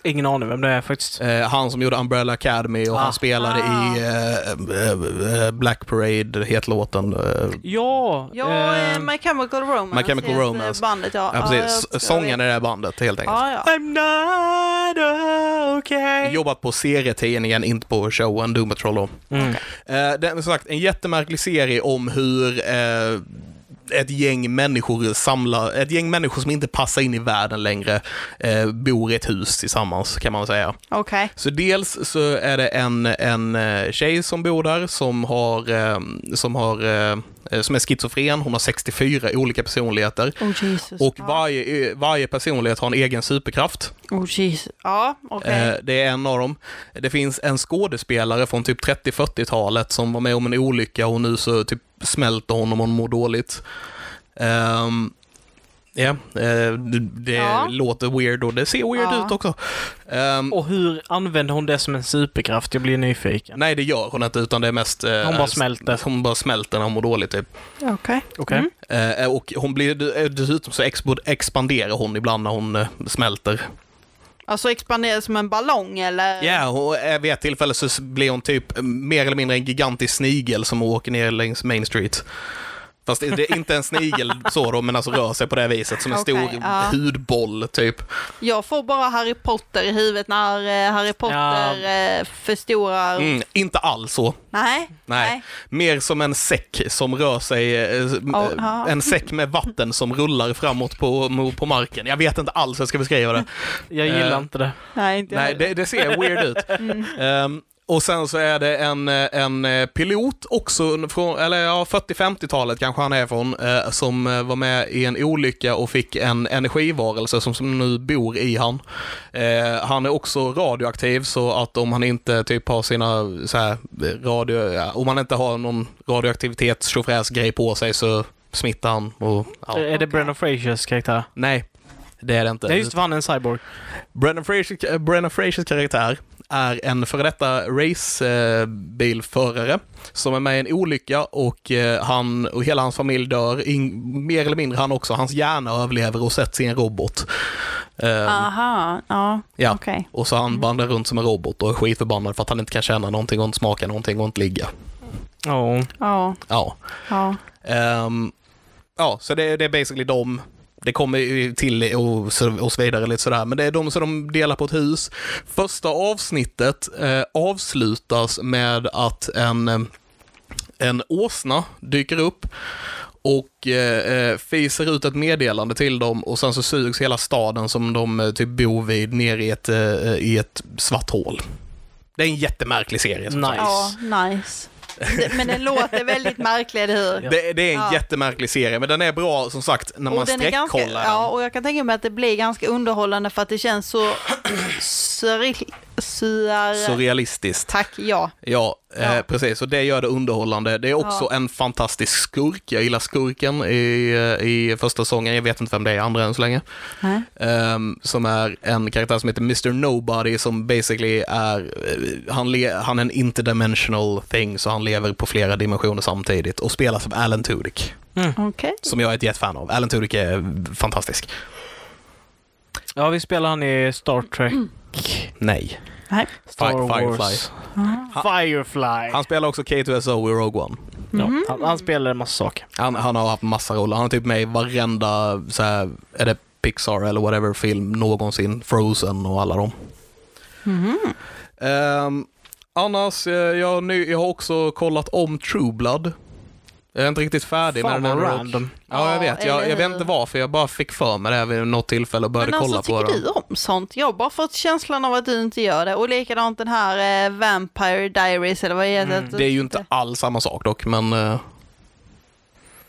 Ingen aning vem det är faktiskt.
Eh, han som gjorde Umbrella Academy och
Ah.
han spelade i eh, eh, eh, Black Parade, heter låten. Eh,
Ja!
Ja,
eh,
eh, My Chemical Romance.
Ehm, My Chemical
heter
Romance.
Bandet, ja.
ja, precis.
Ah, jag- jag
Sången
vet.
i det här bandet, helt enkelt.
Ja, ja.
I'm not okay.
Jobbat på serietidningen, inte på showen, Doom Patrol då.
Mm.
Eh, Det är som sagt en jättemärklig serie om hur eh, ett gäng människor samlar, ett gäng människor som inte passar in i världen längre eh, bor i ett hus tillsammans kan man säga.
Okej.
Så dels så är det en, en eh, tjej som bor där som har, eh, som har, eh, som är schizofren, hon har 64 olika personligheter.
Oh Jesus.
Och
ja.
varje, eh, varje personlighet har en egen superkraft.
Oh Jesus. Ja, okej.
Eh, Det är en av dem. Det finns en skådespelare från typ 30-40-talet som var med om en olycka och nu så typ smälter hon om hon mår dåligt. Ehm, Ja, eh, det, det
Ja.
låter weird och det ser weird
Ja.
ut också. Ehm,
Och hur använder hon det som en superkraft? Jag blir nyfiken.
Nej, det gör hon inte, utan det är mest... eh,
Hon bara smälter.
Hon bara smälter när hon mår dåligt, typ.
Okej.
Okej.
Mm.
Eh, Och hon blir, eh, dessutom så expo- expanderar hon ibland när hon eh, smälter.
Alltså expandera som en ballong eller?
Ja, och eh, vid ett tillfälle så blir hon typ eh, mer eller mindre en gigantisk snigel som åker ner längs Main Street. Fast det det är inte en snigel så då, men alltså rör sig på det här viset som en
Okej,
stor
ja.
hudboll typ.
Jag får bara Harry Potter i huvudet när eh, Harry Potter eh, förstorar.
Mm, inte alls så.
Nej.
Nej. Mer som en säck som rör sig, eh, s-
Ja,
eh,
Oh, ja.
en säck med vatten som rullar framåt på, mo- på marken. Jag vet inte alls hur jag ska beskriva det.
Jag gillar
Eh,
inte det.
Nej, inte jag
Nej, det, det ser weird ut. Ehm, och sen så är det en, eh, en eh, pilot också, under- från, eller ja, 40-50-talet kanske han är från, eh, som eh, var med i en olycka och fick en energivarelse som, som nu bor i han. Eh, han är också radioaktiv så att om han inte typ har sina så här, eh, radio, ja, om han inte har någon radioaktivitets grej på sig så smittar han och ja.
Är det Brennan Frasers karaktär?
Nej, det är det inte.
Nej, just det, för han är en cyborg.
Brennan Frasers, eh, Brennan Frasers karaktär är en före detta racebilförare som är med i en olycka och eh, han och hela hans familj dör, in, mer eller mindre han också. Hans hjärna överlever och sätts i en robot. Eh,
Ah. Aha, ja.
ja.
Okej.
Och så han vandrar runt som en robot och är skitförbannad för att han inte kan känna någonting och inte smaka någonting och inte ligga.
Ja.
Ja,
Ja.
ja.
Ehm, ja, så det, det är basically dem. Det kommer ju till och så, och så vidare lite sådär, men det är de som de delar på ett hus. Första avsnittet eh, avslutas med att en, eh, en åsna dyker upp och eh, eh, fiser ut ett meddelande till dem och sen så sugs hela staden som de eh, typ bor vid ner i ett, eh, i ett svart hål. Det är en jättemärklig serie. som sagt.
Nice.
Ja, nice. Det, men den låter väldigt märklig, eller hur?
Det, det är en
Ja.
jättemärklig serie, men den är bra som sagt när man
Och den är
sträckkollar
ganska,
den.
ja, och jag kan tänka mig att det blir ganska underhållande för att det känns så surreal... Sur,
Surrealistiskt.
tack, ja.
Ja,
Ja.
Eh, precis. Och det gör det underhållande. Det är också en fantastisk skurk. Jag gillar skurken i, eh, i första säsongen. Jag vet inte vem det är i andra än så länge.
Nej.
Ehm, som är en karaktär som heter Mr. Nobody som basically är, eh, han, le, han är en interdimensional thing, så han lever på flera dimensioner samtidigt och spelas av Alan Tudyk,
Okej.
som jag är ett jättefan av. Alan Tudyk är fantastisk.
Mm.
ja, vi spelar han i Star Trek.
Nej.
Nej.
Star
Fi- Firefly.
Wars.
Han-
Firefly.
Han spelar också K2SO i Rogue One.
Mm-hmm.
Ja, han, han spelar en massa saker.
Han, han har haft massa roller. Han är typ med i varenda, så här, är det Pixar eller whatever film någonsin. Frozen och alla dem. Ehm, annars, eh, jag, har ny, jag har också kollat om True Blood. Jag är inte riktigt färdig
Fan
med den
vad
här
random.
Ja, jag
Ja,
vet. Jag,
eller
jag vet
hur?
inte varför. Jag bara fick för mig det här vid något tillfälle och började
Men alltså
kolla på
tycker
det.
du om sånt? Jag har bara fått känslan av att du inte gör det. Och likadant den här eh, Vampire Diaries eller vad heter det?
Mm, Det är ju inte alls samma sak dock, men... eh,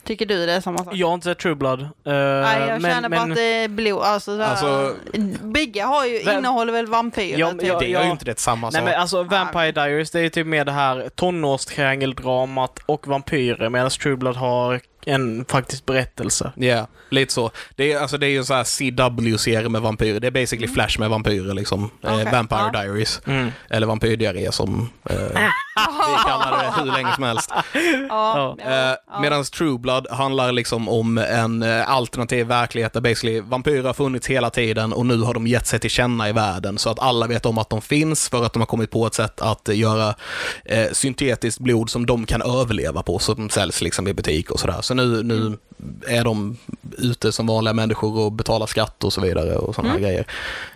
Tycker du det är samma sak?
Jag har inte sett True Blood. eh,
Nej, jag känner bara att det är blod. Alltså, sådär,
Alltså-
bägge har ju,
Vem-
innehåller väl vampyrer?
Ja,
typ.
ja,
det gör ju inte det samma
Nej
sak.
men alltså Vampire Diaries det är typ mer det här tonårstriangeldramat och vampyrer medan True Blood har en faktisk berättelse.
Ja, lite så. Det är, alltså, det är ju en sån här CW-serie med vampyrer. Det är basically Flash med vampyrer liksom.
Mm. Okej,
Eh, Vampire
ja.
Diaries.
Mm.
Eller Vampyrdiarré som eh, vi kallar det hur länge som helst.
Ja,
Ja.
ja,
Eh,
ja.
Medan True Blood handlar liksom om en eh, alternativ verklighet där basically vampyrer har funnits hela tiden och nu har de gett sig till känna i världen så att alla vet om att de finns för att de har kommit på ett sätt att eh, göra eh, syntetiskt blod som de kan överleva på så de säljs liksom i butik och sådär. Så nu, nu är de ute som vanliga människor och betalar skatt och så vidare och sådana här grejer.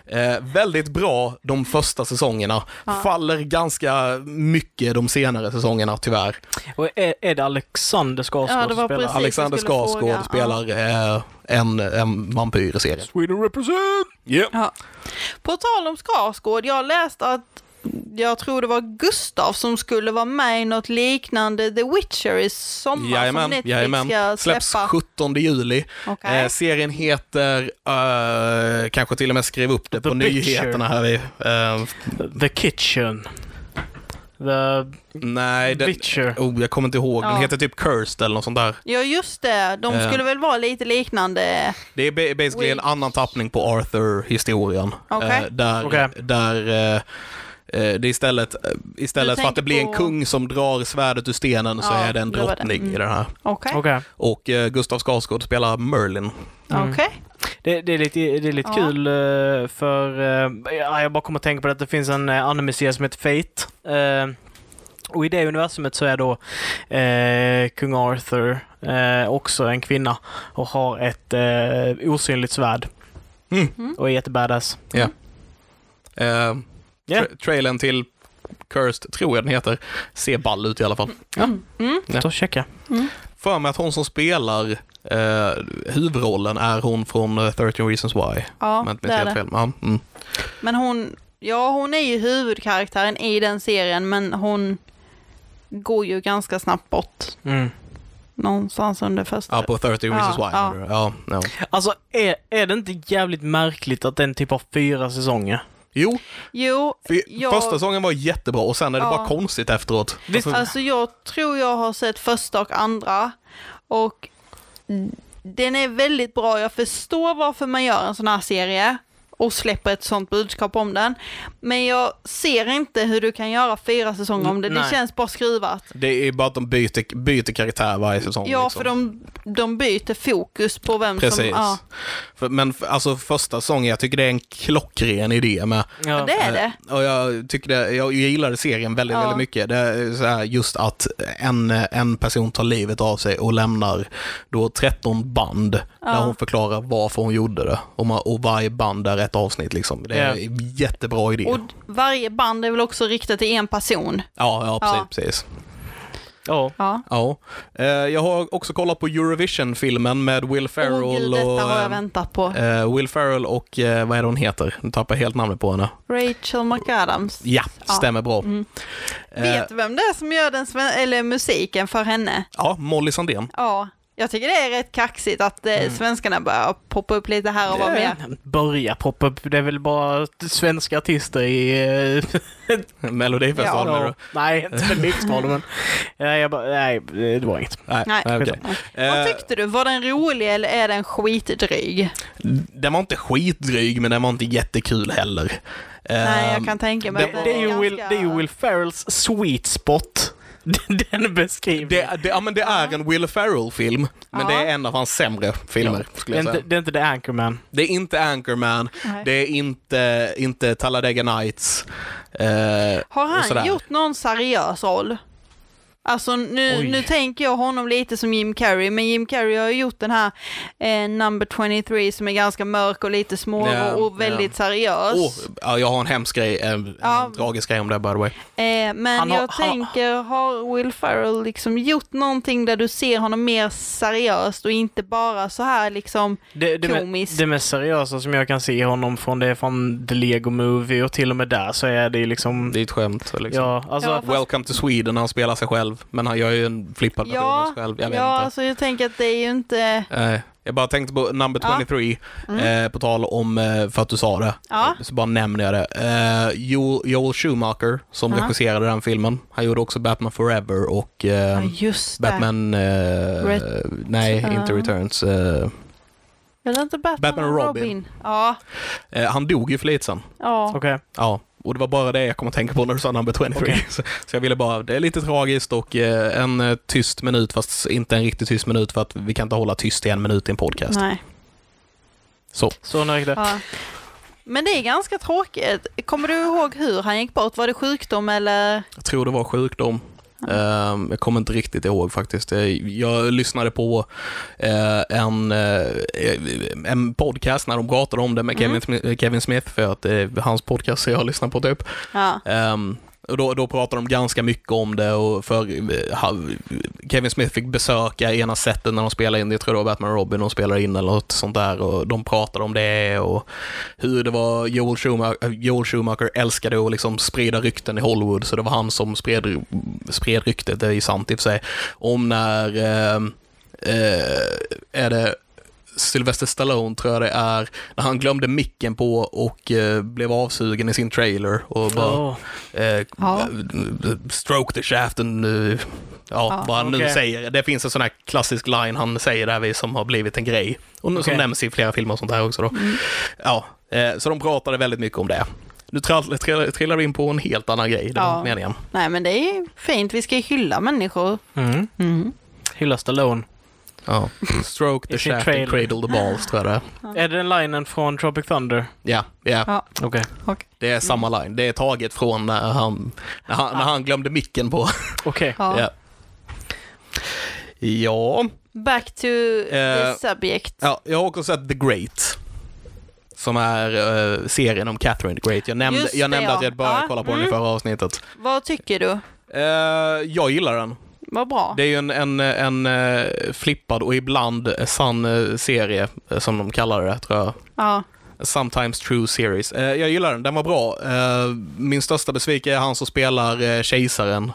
Eh, väldigt bra de första säsongerna, faller ganska mycket de senare säsongerna tyvärr.
Och är, är det Alexander Skarsgård
Ja, det var
som spelar?
precis.
Alexander
jag skulle
Skarsgård
fråga.
spelar eh, en, en vampyr i serien.
Sweden represent!
Ja. På tal om Skarsgård, jag läste att jag tror det var Gustav som skulle vara med i något liknande The Witcher i sommar som Netflix ska
Släpps
släppa.
17 juli.
Okej.
Eh, serien heter, eh, kanske till och med skrev upp det
The
på
Picture.
nyheterna här. Vi, eh,
The Kitchen. The
nej, den,
Witcher.
oh, jag kommer inte ihåg. Den
Ja.
heter typ Cursed eller något sånt där.
Ja just det, de
Eh.
skulle väl vara lite liknande.
Det är ba- basically en
Witch.
annan tappning på Arthur-historien.
Okej.
Eh, där
Okej.
där eh, eh, det istället, eh, istället
Du
för att det
tänker
blir en
på-
kung som drar svärdet ur stenen så
Ja,
är det en
det var det.
drottning i
Mm.
den här.
Okej.
Okej.
Och eh, Gustav Skarsgård spelar Merlin.
Mm.
Okej.
Det, det är lite, det är lite
Ja.
kul eh, för... eh, ja, Jag bara kommer att tänka på det att det finns en eh, anime-serie som heter Fate. Eh, Och i det universumet så är då eh, kung Arthur eh, också en kvinna och har ett eh, osynligt svärd
Mm.
och är jättebadass.
Eh,
Ja.
tra- trailern till Cursed, tror jag den heter, ser ball ut i alla fall.
Mm.
Ja.
Så checka.
För mig att hon som spelar eh, huvudrollen är hon från eh, 13 Reasons Why.
Ja,
Men inte
det är
helt
det.
fel. Ja, mm.
Men hon, ja hon är ju huvudkaraktären i den serien men hon går ju ganska snabbt bort
Mm.
någonstans under första.
ja, på 13 Reasons
Ja,
Why.
ja.
menar du? Ja, ja.
Alltså är, är det inte jävligt märkligt att den typ har fyra säsonger?
Jo,
Jo,
för
jag,
första säsongen var jättebra och sen är det
Ja.
bara konstigt efteråt.
Visst.
alltså jag tror jag har sett första och andra och den är väldigt bra. Jag förstår varför man gör en sån här serie och släpper ett sånt budskap om den. Men jag ser inte hur du kan göra fyra säsonger om det. Det
Nej.
känns bara skruvat.
Det är bara att de byter, byter karaktär varje säsong.
Ja,
liksom.
för de, de byter fokus på vem
Precis.
som... Ja,
För- Men f- alltså första säsongen, jag tycker det är en klockren idé med.
Ja.
det är det.
Eh, Och jag, tycker det, jag gillade serien väldigt,
Ja.
väldigt mycket. Det är så här, just att en, en person tar livet av sig och lämnar då 13 band där hon förklarar varför hon gjorde det. Och, man, och varje band är ett avsnitt. Liksom. Det är
Ja.
en jättebra idé.
Och varje band är väl också riktat till en person.
Ja, ja, precis.
Ja.
precis.
Ja.
Ja.
Ja. Eh, Jag har också kollat på Eurovision-filmen med Will
Åh
Ferrell
gud,
och...
detta har jag
ehm,
väntat på.
eh, Will Ferrell och, eh, vad är det hon heter? Nu tappar jag helt namnet på henne.
Rachel McAdams. Mm.
Ja,
Ja.
stämmer bra. Eh,
Vet du vem det är som gör den sven- eller musiken för henne?
Ja, Molly Sandén.
Ja, jag tycker det är rätt kaxigt att eh,
Mm.
svenskarna börjar poppa upp lite här och vara med.
Börja poppa upp. Det är väl bara svenska artister i eh,
Melodifestivalen.
Ja.
menar Alltså, du?
Nej, inte Lyxtrollen men... Nej, jag bara, nej, det var inget.
Nej,
Nej.
nej, okej.
Vad
Eh,
tyckte du? Var den rolig eller är den skitdryg?
den var inte skitdryg, men den var inte jättekul heller. Eh,
Nej, jag kan tänka mig
Det,
att den
det, är ju
ganska-
Will, det är ju Will Ferrells sweet spot. Den beskrivningen.
Det, det, ja, men det är en Will Ferrell-film, men
Ja.
det är en av hans sämre filmer, skulle
Det
jag
är, inte,
säga.
det är inte The Anchorman.
Det är inte Anchorman,
Nej.
det är inte, inte Talladega Nights. eh,
Har
och sådär.
han gjort någon seriös roll? Alltså nu,
Oj.
nu tänker jag honom lite som Jim Carrey, men Jim Carrey har ju gjort den här eh, Number 23 som är ganska mörk och lite små
Ja,
och väldigt seriös.
Åh, oh, ja, jag har en hemsk grej, eh, en
Ja.
tragisk grej om det by the way.
Eh, men
Han har-
jag
han-
tänker, har Will Ferrell liksom gjort någonting där du ser honom mer seriöst och inte bara så här liksom,
Det, det, me-
Komiskt.
det mest seriösa som jag kan se honom från det är från The Lego Movie och till och med där så är det ju liksom...
Det är ett skämt. Liksom.
Ja, alltså...
Ja, fast-
Welcome to Sweden, han spelar sig själv, men han gör ju en flippad version av sig själv. Jag vet
ja
inte.
alltså jag tänker att det är ju inte,
Eh, jag bara tänkte på number
Ja. Mm.
23, eh, på tal om, eh, för att du sa det,
Ja.
så bara nämner jag det. Eh, Joel, Joel Schumacher, som
Ja.
regisserade den filmen, han gjorde också Batman Forever och eh,
ja just det.
Batman... eh,
Ret-
nej,
Ja.
inte Returns. Eh,
Eller inte Batman,
Batman
och
och
Robin.
Robin.
Ja,
eh, han dog ju för lite sen.
ja.
Okej.
Ja, och det var bara det jag kom att tänka på när du sa number 23.
Okej.
Så, så jag ville bara, det är lite tragiskt och eh, en eh, tyst minut, fast inte en riktigt tyst minut för att vi kan inte hålla tyst i en minut i en podcast.
Nej.
Så.
Så nöjd där.
Ja. Men det är ganska tråkigt. Kommer du ihåg hur han gick bort? Var det sjukdom eller?
Jag tror det var sjukdom. Ehm, Jag kommer inte riktigt ihåg faktiskt. Jag- Jag lyssnade på eh, en, eh, en podcast när de pratade om det med Kevin, Smi- Kevin Smith, för att det är hans podcast jag lyssnar på typ.
Ja.
Ehm, och då, då pratade de ganska mycket om det och för eh, ha- Kevin Smith fick besöka ena setet när de spelade in, jag tror det var Batman och Robin de spelade in eller något sånt där och de pratade om det och hur det var Joel Schumacher, eh, Joel Schumacher älskade att liksom sprida rykten i Hollywood så det var han som spred, spred ryktet, det är ju sant i och för sig, om när eh, eh, är det Sylvester Stallone tror jag det är, när han glömde micken på och eh, blev avsugen i sin trailer och bara
Åh.
Eh,
Ja.
Stroke the shaft and... eh, ja,
Ja,
vad han nu
okej.
säger. Det finns en sån här klassisk line han säger där vid som har blivit en grej. Och nu-
Okej.
som nämns i flera filmer och sånt här också då.
Mm.
Ja, eh, så de pratade väldigt mycket om det. Nu trall- trill- trillar vi in på en helt annan grej, den
Ja.
meningen.
Nej men det är ju fint, vi ska ju hylla människor.
Mm.
Mm.
Hylla Stallone.
Ja. Stroke the
I sin
shaft
trailer.
and cradle the balls, tror jag det är.
Är det den linen från Tropic Thunder?
Ja, ja.
Ja.
Okej.
Och,
Det är samma line. Det är taget från när han, när han, när han glömde micken på.
Okej.
ja.
Ja. Ja.
Back to the
Eh,
subject.
Ja, jag har också sett The Great. Som är eh, serien om Catherine the Great. Jag nämnde,
Just det,
jag nämnde
ja.
att jag började
Ja,
kolla på
mm.
den i förra avsnittet.
Vad tycker du?
Eh, jag gillar den.
Vad bra.
Det är ju en, en, en eh, flippad och ibland sann eh, serie, eh, som de kallar det, tror jag.
Ja.
Sometimes True Series. Eh, jag gillar den, den var bra. Eh, min största besvikelse är han som spelar eh, Kejsaren.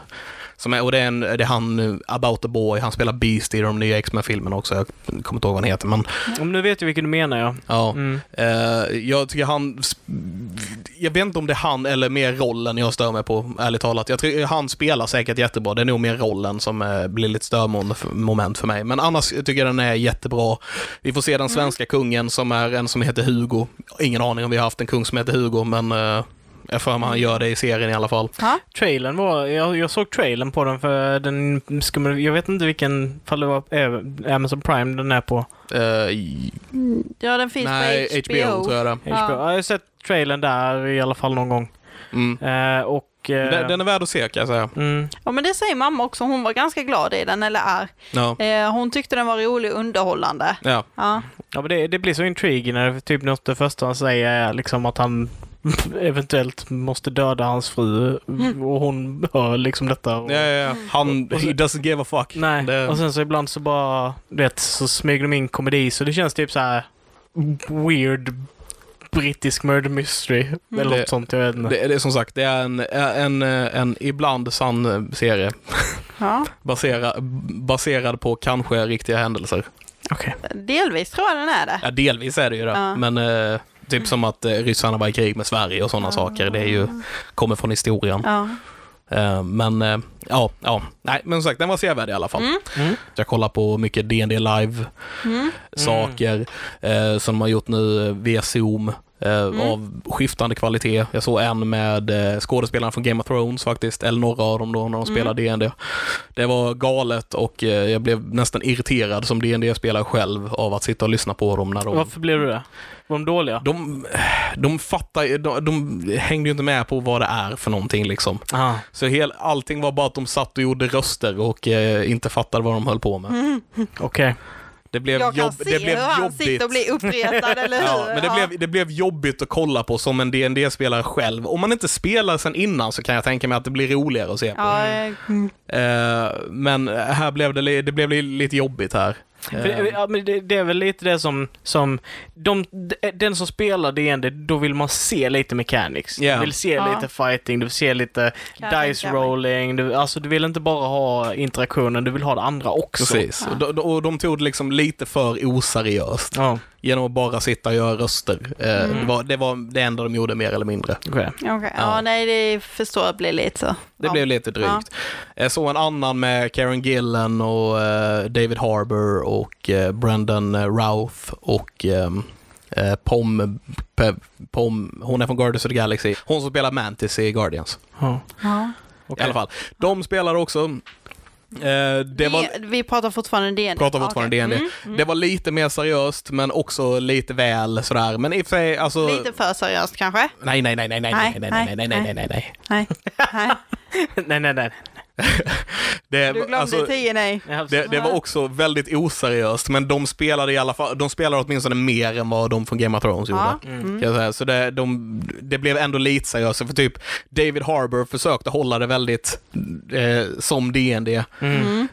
Som är, och det är, en, det är han, eh, About the Boy, han spelar Beast i de nya X-Men-filmerna också. Jag kommer inte ihåg vad han heter, men
Om nu vet du vilken du menar ja.
ja.
Mm.
Eh, jag tycker han... Jag vet inte om det är han eller mer rollen jag stör mig på, ärligt talat. Jag tycker han spelar säkert jättebra. Det är nog mer rollen som eh, blir lite störmoment för mig. Men annars tycker jag den är jättebra. Vi får se
Mm.
den svenska kungen som är en som heter Hugo. Ingen aning om vi har haft en kung som heter Hugo, men eh, jag för mig han gör det i serien i alla fall.
Ja.
Trailern var... Jag, jag såg trailern på den för den... Ska man, jag vet inte vilken... Fall det var eh, Amazon Prime den är på.
Eh, i-
ja, den finns på
nej,
HBO.
HBO tror jag det
HBO.
Ja.
Ja, jag har sett trailern där i alla fall någon gång.
är. mm.
Eh, och... Eh,
den, den är värd att se kan jag säga.
Mm,
Ja, men det säger mamma också. Hon var ganska glad i den, eller är.
Ja.
Eh, hon tyckte den var rolig och underhållande.
Ja.
Ja.
ja, men det, det blir så intriguing när typ något det första han säger är liksom att han eventuellt måste döda hans fru och hon hör liksom detta. Och,
Mm. Ja, ja, ja. Han,
Och så-
he doesn't give a fuck.
Nej,
Det-
och sen så ibland så bara, du vet, så smyger de in komedi så det känns typ så här weird brittisk murder mystery eller
Mm. Det-
något sånt, jag vet inte.
Det, det, är som sagt, det är en, en, en ibland sann serie
ja.
basera, baserad på kanske riktiga händelser.
Okej.
Delvis tror jag den är det.
Ja, delvis är det ju det,
Ja.
men eh, typ som att eh, ryssarna var i krig med Sverige och sådana saker. Det är ju, kommer från historien.
Ja.
Eh, men eh, ja, ja. Nej, men som sagt, den var sevärd i alla fall.
Mm.
Jag kollar på mycket D&D live
Mm.
saker eh, som de har gjort nu eh, via Zoom. Eh, eh,
Mm.
av skiftande kvalitet. Jag såg en med eh, skådespelaren från Game of Thrones faktiskt, eller några av dem då när de
Mm.
spelade D&D. Det var galet och eh, jag blev nästan irriterad som dd spelare själv av att sitta och lyssna på dem när de
Varför blev du det? Var de dåliga?
de, de fattar ju- de, de hängde ju inte med på vad det är för någonting liksom.
Ah.
Så hel, allting var bara att de satt och gjorde röster och eh, inte fattade vad de höll på med.
Okej.
Det blev,
Mm. Jag kan
jobb,
se
det blev
hur han
jobbigt.
sitter och blir uppretad, eller hur?
Ja, men det, blev, det blev jobbigt att kolla på som en dd spelare själv. Om man inte spelar sen innan så kan jag tänka mig att det blir roligare att se på.
Ja, eh, mm.
Eh, men här blev det, li- det blev li- lite jobbigt här. Eh,
För det, ja, men det, det är väl lite det som, som de, de- den som spelar D&D då vill man se lite mechanics.
Ja.
Du vill se
Ja.
lite fighting, du vill se lite
Kan jag
dice
tänka mig.
rolling, du, alltså du vill inte bara ha interaktionen, du vill ha det andra också.
Precis. Och, de, och de tog det liksom lite för oseriöst
Ja,
genom att bara sitta och göra röster. Eh,
Mm.
det, var, det var det enda de gjorde mer eller mindre.
okej.
Okej,
Ja.
Ja, nej, det förstår jag blir lite så.
Det blev lite drygt. Jag såg en annan med Karen Gillen och eh, David Harbour och eh, Brendan eh, Routh och ehm, eh, Pom, Pe, Pom, hon är från Guardians of the Galaxy. Hon som spelar Mantis i Guardians.
Ja.
Ja.
I alla fall. De spelar också. Eh, det var,
vi, vi pratar fortfarande DND.
pratar fortfarande
Okej. Mm,
D&D. Det var lite mer seriöst men också lite väl sådär. Men i och för sig, alltså...
Mm. Lite för seriöst kanske?
Nej, nej, nej, nej, nej, nej, nej, nej, nej, nej, nej, nej.
Nej. nej.
nej, nej, nej.
Det,
Du glömde
alltså,
tio nej.
Det, det var också väldigt oseriöst, men de spelade i alla fall, de spelade åtminstone mer än vad de från Game of Thrones gjorde.
Ja. Mm.
Kan Mm. jag säga. Så det, de, det blev ändå lite seriöst, för typ David Harbour försökte hålla det väldigt eh, som D&D
Mm.
Mm.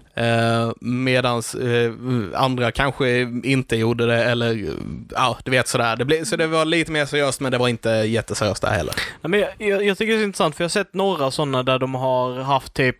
eh, medan eh, andra kanske inte gjorde det, eller eh, ja, du vet sådär. Det blev, så det var lite mer seriöst, men det var inte jätteseriöst där heller.
Nej, men jag, jag, jag tycker det är så intressant för jag har sett några sådana där de har haft typ,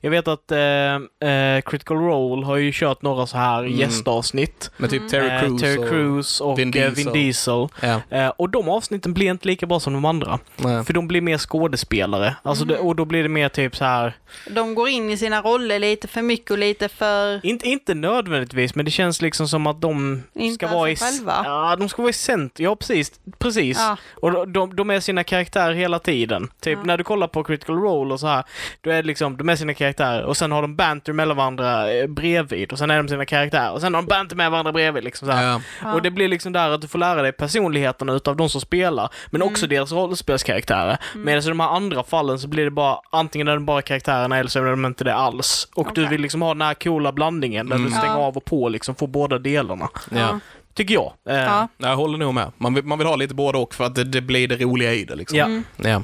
jag vet att eh, eh, Critical Role har ju kört några så här
Mm.
gästavsnitt.
Med typ Terry
Eh,
Crews
Terry
och-
Crews och,
Vin
Vin Diesel.
Diesel.
Vin Diesel.
Ja,
Eh, och de avsnitten blir inte lika bra som de andra.
nej.
För de blir mer skådespelare. Alltså
Mm.
det, och då blir det mer typ så här.
De går in i sina roller lite för mycket och lite för...
Inte, inte nödvändigtvis, men det känns liksom som att de
Inte
ska
ens
vara i...
sig själva.
Ja, de ska vara i centrum. Ja, precis. Precis.
Ja.
Och de- de, de är sina karaktärer hela tiden. Typ när du kollar på Critical Role och så här, då är det liksom, de är sina karaktärer och sen har de banter mellan varandra eh, bredvid och sen är de sina karaktärer och sen har de banter med varandra bredvid liksom så här.
Ja.
Och det blir liksom där att du får lära dig personligheterna utav de som spelar, men
Mm.
också deras rollspelskaraktärer. Medan i de här andra fallen så blir det bara, antingen är de bara karaktärerna eller så är de inte det alls. Och du
Okej.
vill liksom ha den här coola blandningen där du stänger
Ja.
av och på liksom, får båda delarna.
Ja.
Tycker jag. Eh,
Ja.
Jag håller nog med. Man vill, man vill ha lite både och för att det, det blir det roliga i det. Liksom.
Ja.
Mm.
Ja.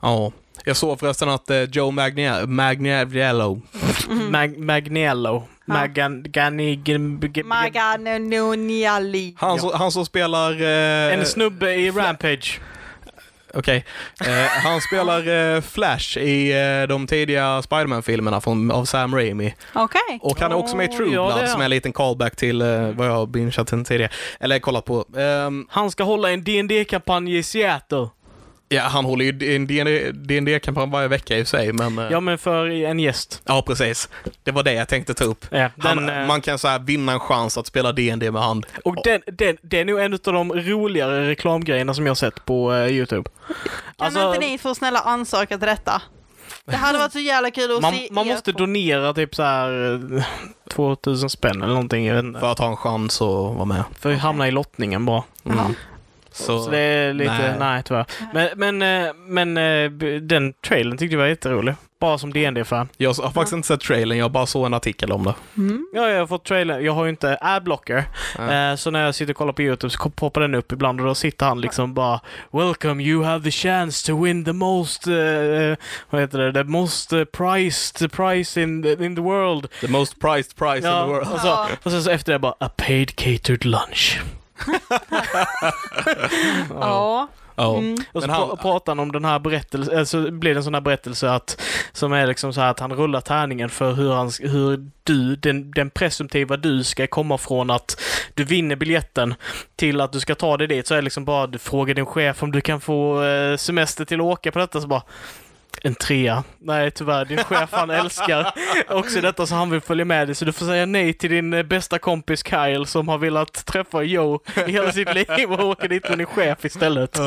ja. Jag såg förresten att eh, Joe Magnia- Magniello,
Mm-hmm.
Mag- Magnello. Maganigan...
Maganoniali.
han, som- han som spelar... Eh,
En snubbe i Rampage.
okej. Eh, han spelar eh, Flash i eh, de tidiga Spiderman-filmerna från- av Sam Raimi.
Okej.
Och han är också med i
Åh,
True
ja,
Blood
det är
som
han.
är en liten callback till eh, vad jag har bingeat in tidigare. Eller kollat på. Ehm,
Han ska hålla en dd kampanj i Seattle.
ja, han håller ju i en D&D-kampanj varje vecka i och för sig, men... eh,
Ja, men för en gäst.
ja, precis. Det var det jag tänkte ta upp.
Ja, den,
han,
eh,
man kan så här vinna en chans att spela D&D med han.
Och den, den, den är nog en av de roligare reklamgrejerna som jag sett på eh, Youtube.
Kan
Alltså,
inte ni få snälla ansöka till detta? Det hade varit så jävla kul att
man,
se
man
er
måste
två.
donera typ så här eh, 2000 spänn eller någonting, jag vet inte.
för att ha en chans att vara med. Mm.
För att hamna i lottningen bara.
Ja.
Så,
Så det är lite,
nej.
nej, tyvärr. Men, men, eh, men eh, b- den trailern tyckte jag var jätterolig. Bara som dd fan
jag har faktiskt inte sett trailern, jag bara såg en artikel om det.
Mm.
Ja, jag har fått trailern. Jag har ju inte adblocker. Eh, så när jag sitter och kollar på YouTube så kom- poppar den upp ibland och då sitter han liksom bara Welcome, you have the chance to win the most... eh, eh, vad heter det? The most eh, prized prize in the, in the world.
The most prized prize in the world.
och, så,
Ja.
och sen så efter det bara A paid catered lunch.
Ja.
Ja.
Mm.
Och så
Men han-
pra- pratar han om den här berättelsen, eh, så blir det en sån här berättelse att, som är liksom så här att han rullar tärningen för hur, han, s- hur du, den, den presumtiva du ska komma från att du vinner biljetten till att du ska ta dig dit. Så är det liksom bara, du frågar din chef om du kan få eh, semester till att åka på detta, så bara En trea. Nej, tyvärr. Din chef han älskar också detta så han vill följa med dig. Så du får säga nej till din eh, bästa kompis Kyle som har velat träffa Joe i hela sitt liv och åker dit med din chef istället.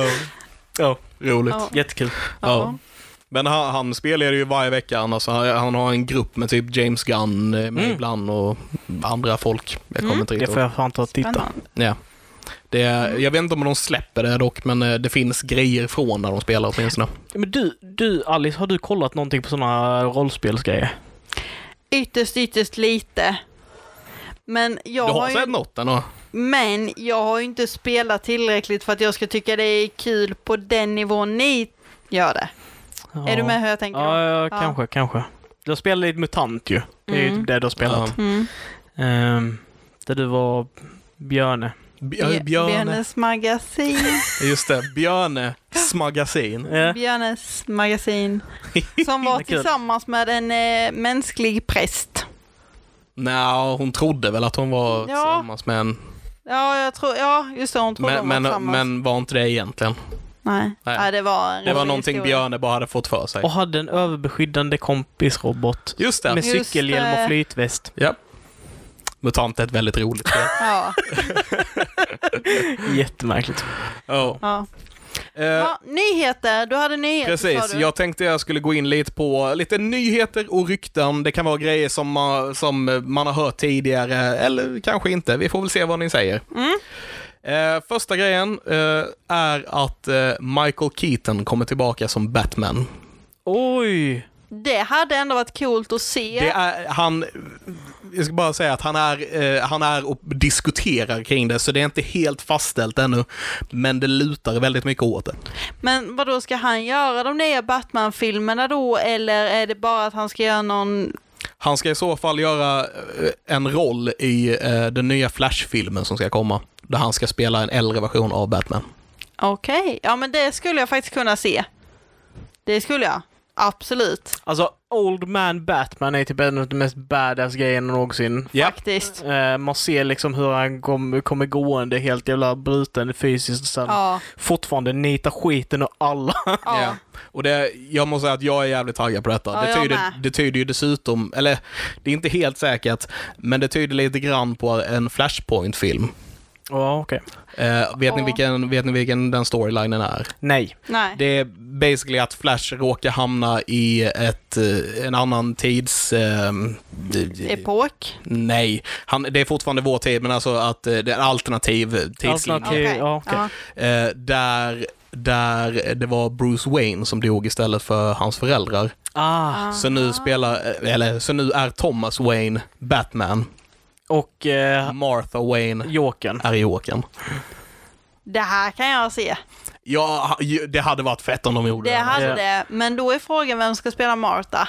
Ja,
Roligt.
Ja.
jättekul.
Ja. Men han, han spelar ju varje vecka annars. Han, han har en grupp med typ James Gunn eh, med
Mm.
ibland och andra folk. Jag kommer inte
Det
riktigt
får
ihåg.
jag fan ta och titta.
Spännande.
Ja. Det, är- jag vet inte om de släpper det dock, men eh, det finns grejer från där de spelar åtminstone.
Men du, du Alice, har du kollat någonting på sådana rollspelsgrejer?
Ytterst, ytterst lite. Men jag,
du
har
har
ju,
sett något ändå?
men jag har ju inte spelat tillräckligt för att jag ska tycka det är kul på den nivån ni gör det.
Ja.
Är du med hur jag tänker?
Ja, ja,
Ja.
kanske, kanske. Du har spelat lite MUTANT ju. Det är ju
Mm.
typ det du har spelat.
Mm.
Ehm, där du var Björne.
Björne. Björne.
Björnes magasin.
Just det, Björnes magasin.
Mm.
Eh,
Björnes magasin. Som var
Vad kul.
tillsammans med en eh, mänsklig präst.
Nej, hon trodde väl att hon var
Ja.
tillsammans med en...
Ja, jag tror, ja just det, hon trodde
Men,
de var
men,
tillsammans.
men var inte det egentligen.
Nej.
Nej.
Ja, det var en
Det var
rolig
någonting
historia.
Björne bara hade fått för sig.
och hade en överbeskyddande kompisrobot.
Just det.
Med
Just
cykelhjälm
det.
och flytväst.
Ja. Mutant är ett väldigt roligt spel.
Ja,
Jättemärkligt.
Ja.
ja.
Eh,
ja, nyheter. Du hade nyheter
Precis,
sa du.
jag tänkte jag skulle gå in lite på lite nyheter och rykten. Det kan vara grejer som man, som man har hört tidigare, eller kanske inte. Vi får väl se vad ni säger.
Mm.
Eh, första grejen eh, är att eh, Michael Keaton kommer tillbaka som Batman.
Oj!
Det hade ändå varit coolt att se.
Det är, han, jag ska bara säga att han är, eh, han är och diskuterar kring det, så det är inte helt fastställt ännu. Men det lutar väldigt mycket åt det.
Men vad då ska han göra de nya Batman-filmerna då? Eller är det bara att han ska göra någon...
Han ska i så fall göra eh, en roll i eh, den nya Flash-filmen som ska komma. Där han ska spela en äldre version av Batman.
Okej, ja men det skulle jag faktiskt kunna se. Det skulle jag. Absolut.
Alltså, Old Man Batman är typ en av de mest badass grejerna någonsin.
Ja,
Faktiskt.
Eh, man ser liksom hur han kom, kommer gående helt jävla bruten fysiskt och sen
Ja,
fortfarande nita skiten och alla.
ja.
Och det, jag måste säga att jag är jävligt taggad på detta.
Ja,
det,
jag
tyder,
med.
det tyder ju dessutom, eller det är inte helt säkert, men det tyder lite grann på en Flashpoint-film.
Ja, okej.
Eh, vet, ni
Ja.
vilken, vet ni vilken den storylinen är?
Nej.
Nej.
Det är basically att Flash råkar hamna i ett, eh, en annan tids... ehm,
Typ. Epok.
Nej, han, det är fortfarande vår tid, men alltså att eh, det är en alternativ tidslinje.
Alternativ. Okej, ja, okej.
ja.
Eh, där, där det var Bruce Wayne som dog istället för hans föräldrar.
Ah.
Så nu spelar, eh, eller så nu är Thomas Wayne Batman.
Och eh,
Martha Wayne
Jokern.
är Jokern.
Det här kan jag se.
Ja, ha- ju- det hade varit fett om de gjorde
Det
det.
hade
Ja.
det. Men då är frågan vem ska spela Martha?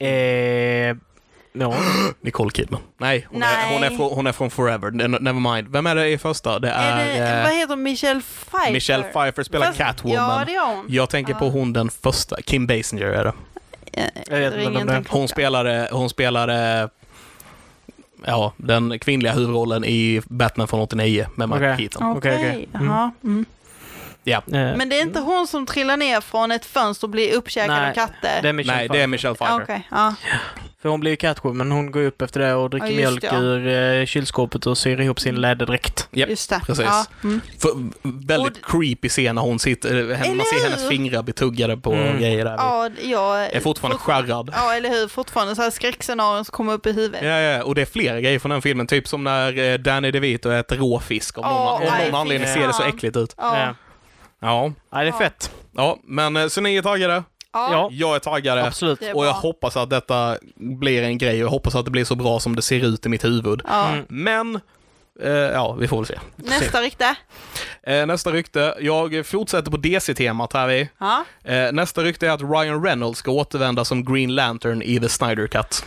Eh, ja.
Nicole Kidman. Nej, hon, Är,
Nej.
hon, är från, hon är från Forever. Ne- Never mind. Vem är det i första? Det är,
är det,
eh,
vad heter hon? Michelle Pfeiffer?
Michelle Pfeiffer spelar
Fast-
Catwoman.
Ja, det är hon.
Jag tänker på hon den första, Kim Basinger är det.
Jag vet inte vem det är.
Hon spelade, hon spelade ja, den kvinnliga huvudrollen i Batman från 89 med Michael
Okej.
Keaton.
Okej,
Okej, okej. Mm.
jaha, mm.
Ja.
Eh,
Men det är inte hon som trillar ner från ett fönster och blir uppkäkad
Nej,
av katter?
det är Michelle
Nej, det är Michelle
Ah,
Pfeiffer.
Okej, ja.
För hon blir ju Catwoman. Hon går upp efter det och dricker
Ja, just
mjölk
det, ja. Mm.
ur eh, kylskåpet och syr ihop sin läderdräkt.
Japp,
Just det.
precis.
Ja. Mm.
För, väldigt creepy scen när hon sitter, henne- man
Eller
ser
hur?
hennes fingrar betuggade på
Mm.
grejer där.
ja, jag
är fortfarande skärrad.
Ja, eller hur? Fortfarande så här skräckscenarion som kommer upp i huvudet.
Ja, ja, och det är flera grejer från den filmen, typ som när eh, Danny DeVito äter rå fisk. Om
Åh,
någon, av
nej,
någon
fy
anledning ser det så
fan.
äckligt ut.
Ja.
Eh,
Ja.
Ja,
nej, det är
Ja.
fett.
ja men eh, så ni är taggade?
Ja,
Jag är taggade.
absolut.
Det är
Och jag
bra.
hoppas att detta blir en grej och jag hoppas att det blir så bra som det ser ut i mitt huvud.
Ja.
Mm.
Men, eh, ja, vi får väl se.
Nästa rykte.
Eh, nästa rykte. Jag fortsätter på DC-temat här vi.
Ja.
Eh, nästa rykte är att Ryan Reynolds ska återvända som Green Lantern i The Snyder Cut.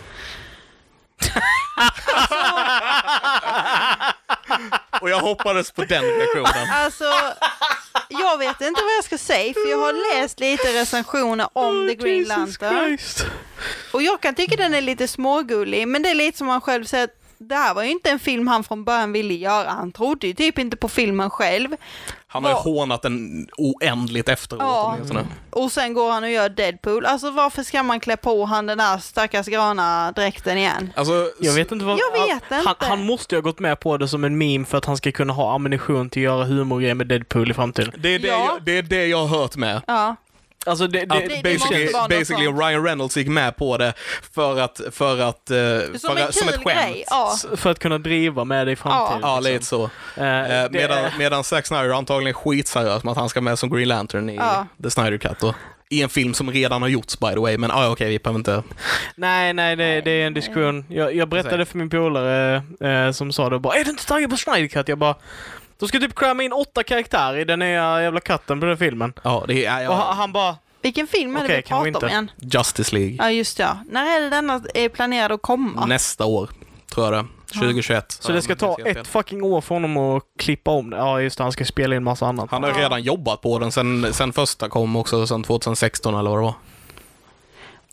och jag hoppades på den reaktionen.
Alltså, jag vet inte vad jag ska säga för jag har läst lite recensioner om The Green
Jesus
Lantern.
Christ.
Och jag kan tycka den är lite smågullig, men det är lite som man själv säger att det här var ju inte en film han från början ville göra. Han trodde ju typ inte på filmen själv.
Han har ju
Vad-
hånat den oändligt efteråt
Ja.
åtminstone.
Och sen går han och gör Deadpool. Alltså varför ska man klä på han den här stackars gröna dräkten igen?
Alltså,
Jag vet inte vad...
Jag vet
han,
inte.
Han, han måste ju ha gått med på det som en meme för att han ska kunna ha ammunition till att göra humorgrejer med Deadpool i framtiden.
det, är det,
Ja.
jag, det är det jag har hört med.
Ja,
Alltså det...
Att
det,
det måste
basically,
vara något
basically
sånt.
Ryan Reynolds gick med på det för att... För att eh,
som
för,
en
att- som
kul
ett skämt.
grej. Ja.
s- För att kunna driva med det i framtiden.
Ja,
liksom.
lite så.
Eh,
Eh,
det-
medan, medan Zack Snyder antagligen skitseriös med att han ska med som Green Lantern i
Ja.
The Snyder Cut. Då. I en film som redan har gjorts by the way, men ah, okej, vi behöver inte...
Nej, nej, det, det är en diskussion. Jag, jag berättade för min polare eh, som sa det bara “Är du inte taggad på Snyder Cut?” Jag bara “De ska typ kräma in åtta karaktärer i den nya jävla katten på den filmen”.
Ja, det är...
Och
Ja,
han, han bara
Vilken film är det
Okej,
vi
kan
pratar
vi
om
inte?
igen?
Justice League.
Ja, just det, ja. När är det denna är planerad att komma?
Nästa år, tror jag det. 2021.
“Så det ska
Ja,
ta
men helt
ett
fel.
fucking år för honom att klippa om det?” Ja, just det. Han ska spela in massa annat.
Han har ju
Ja.
redan jobbat på den sen, sen första kom också, sen 2016 eller vad det var.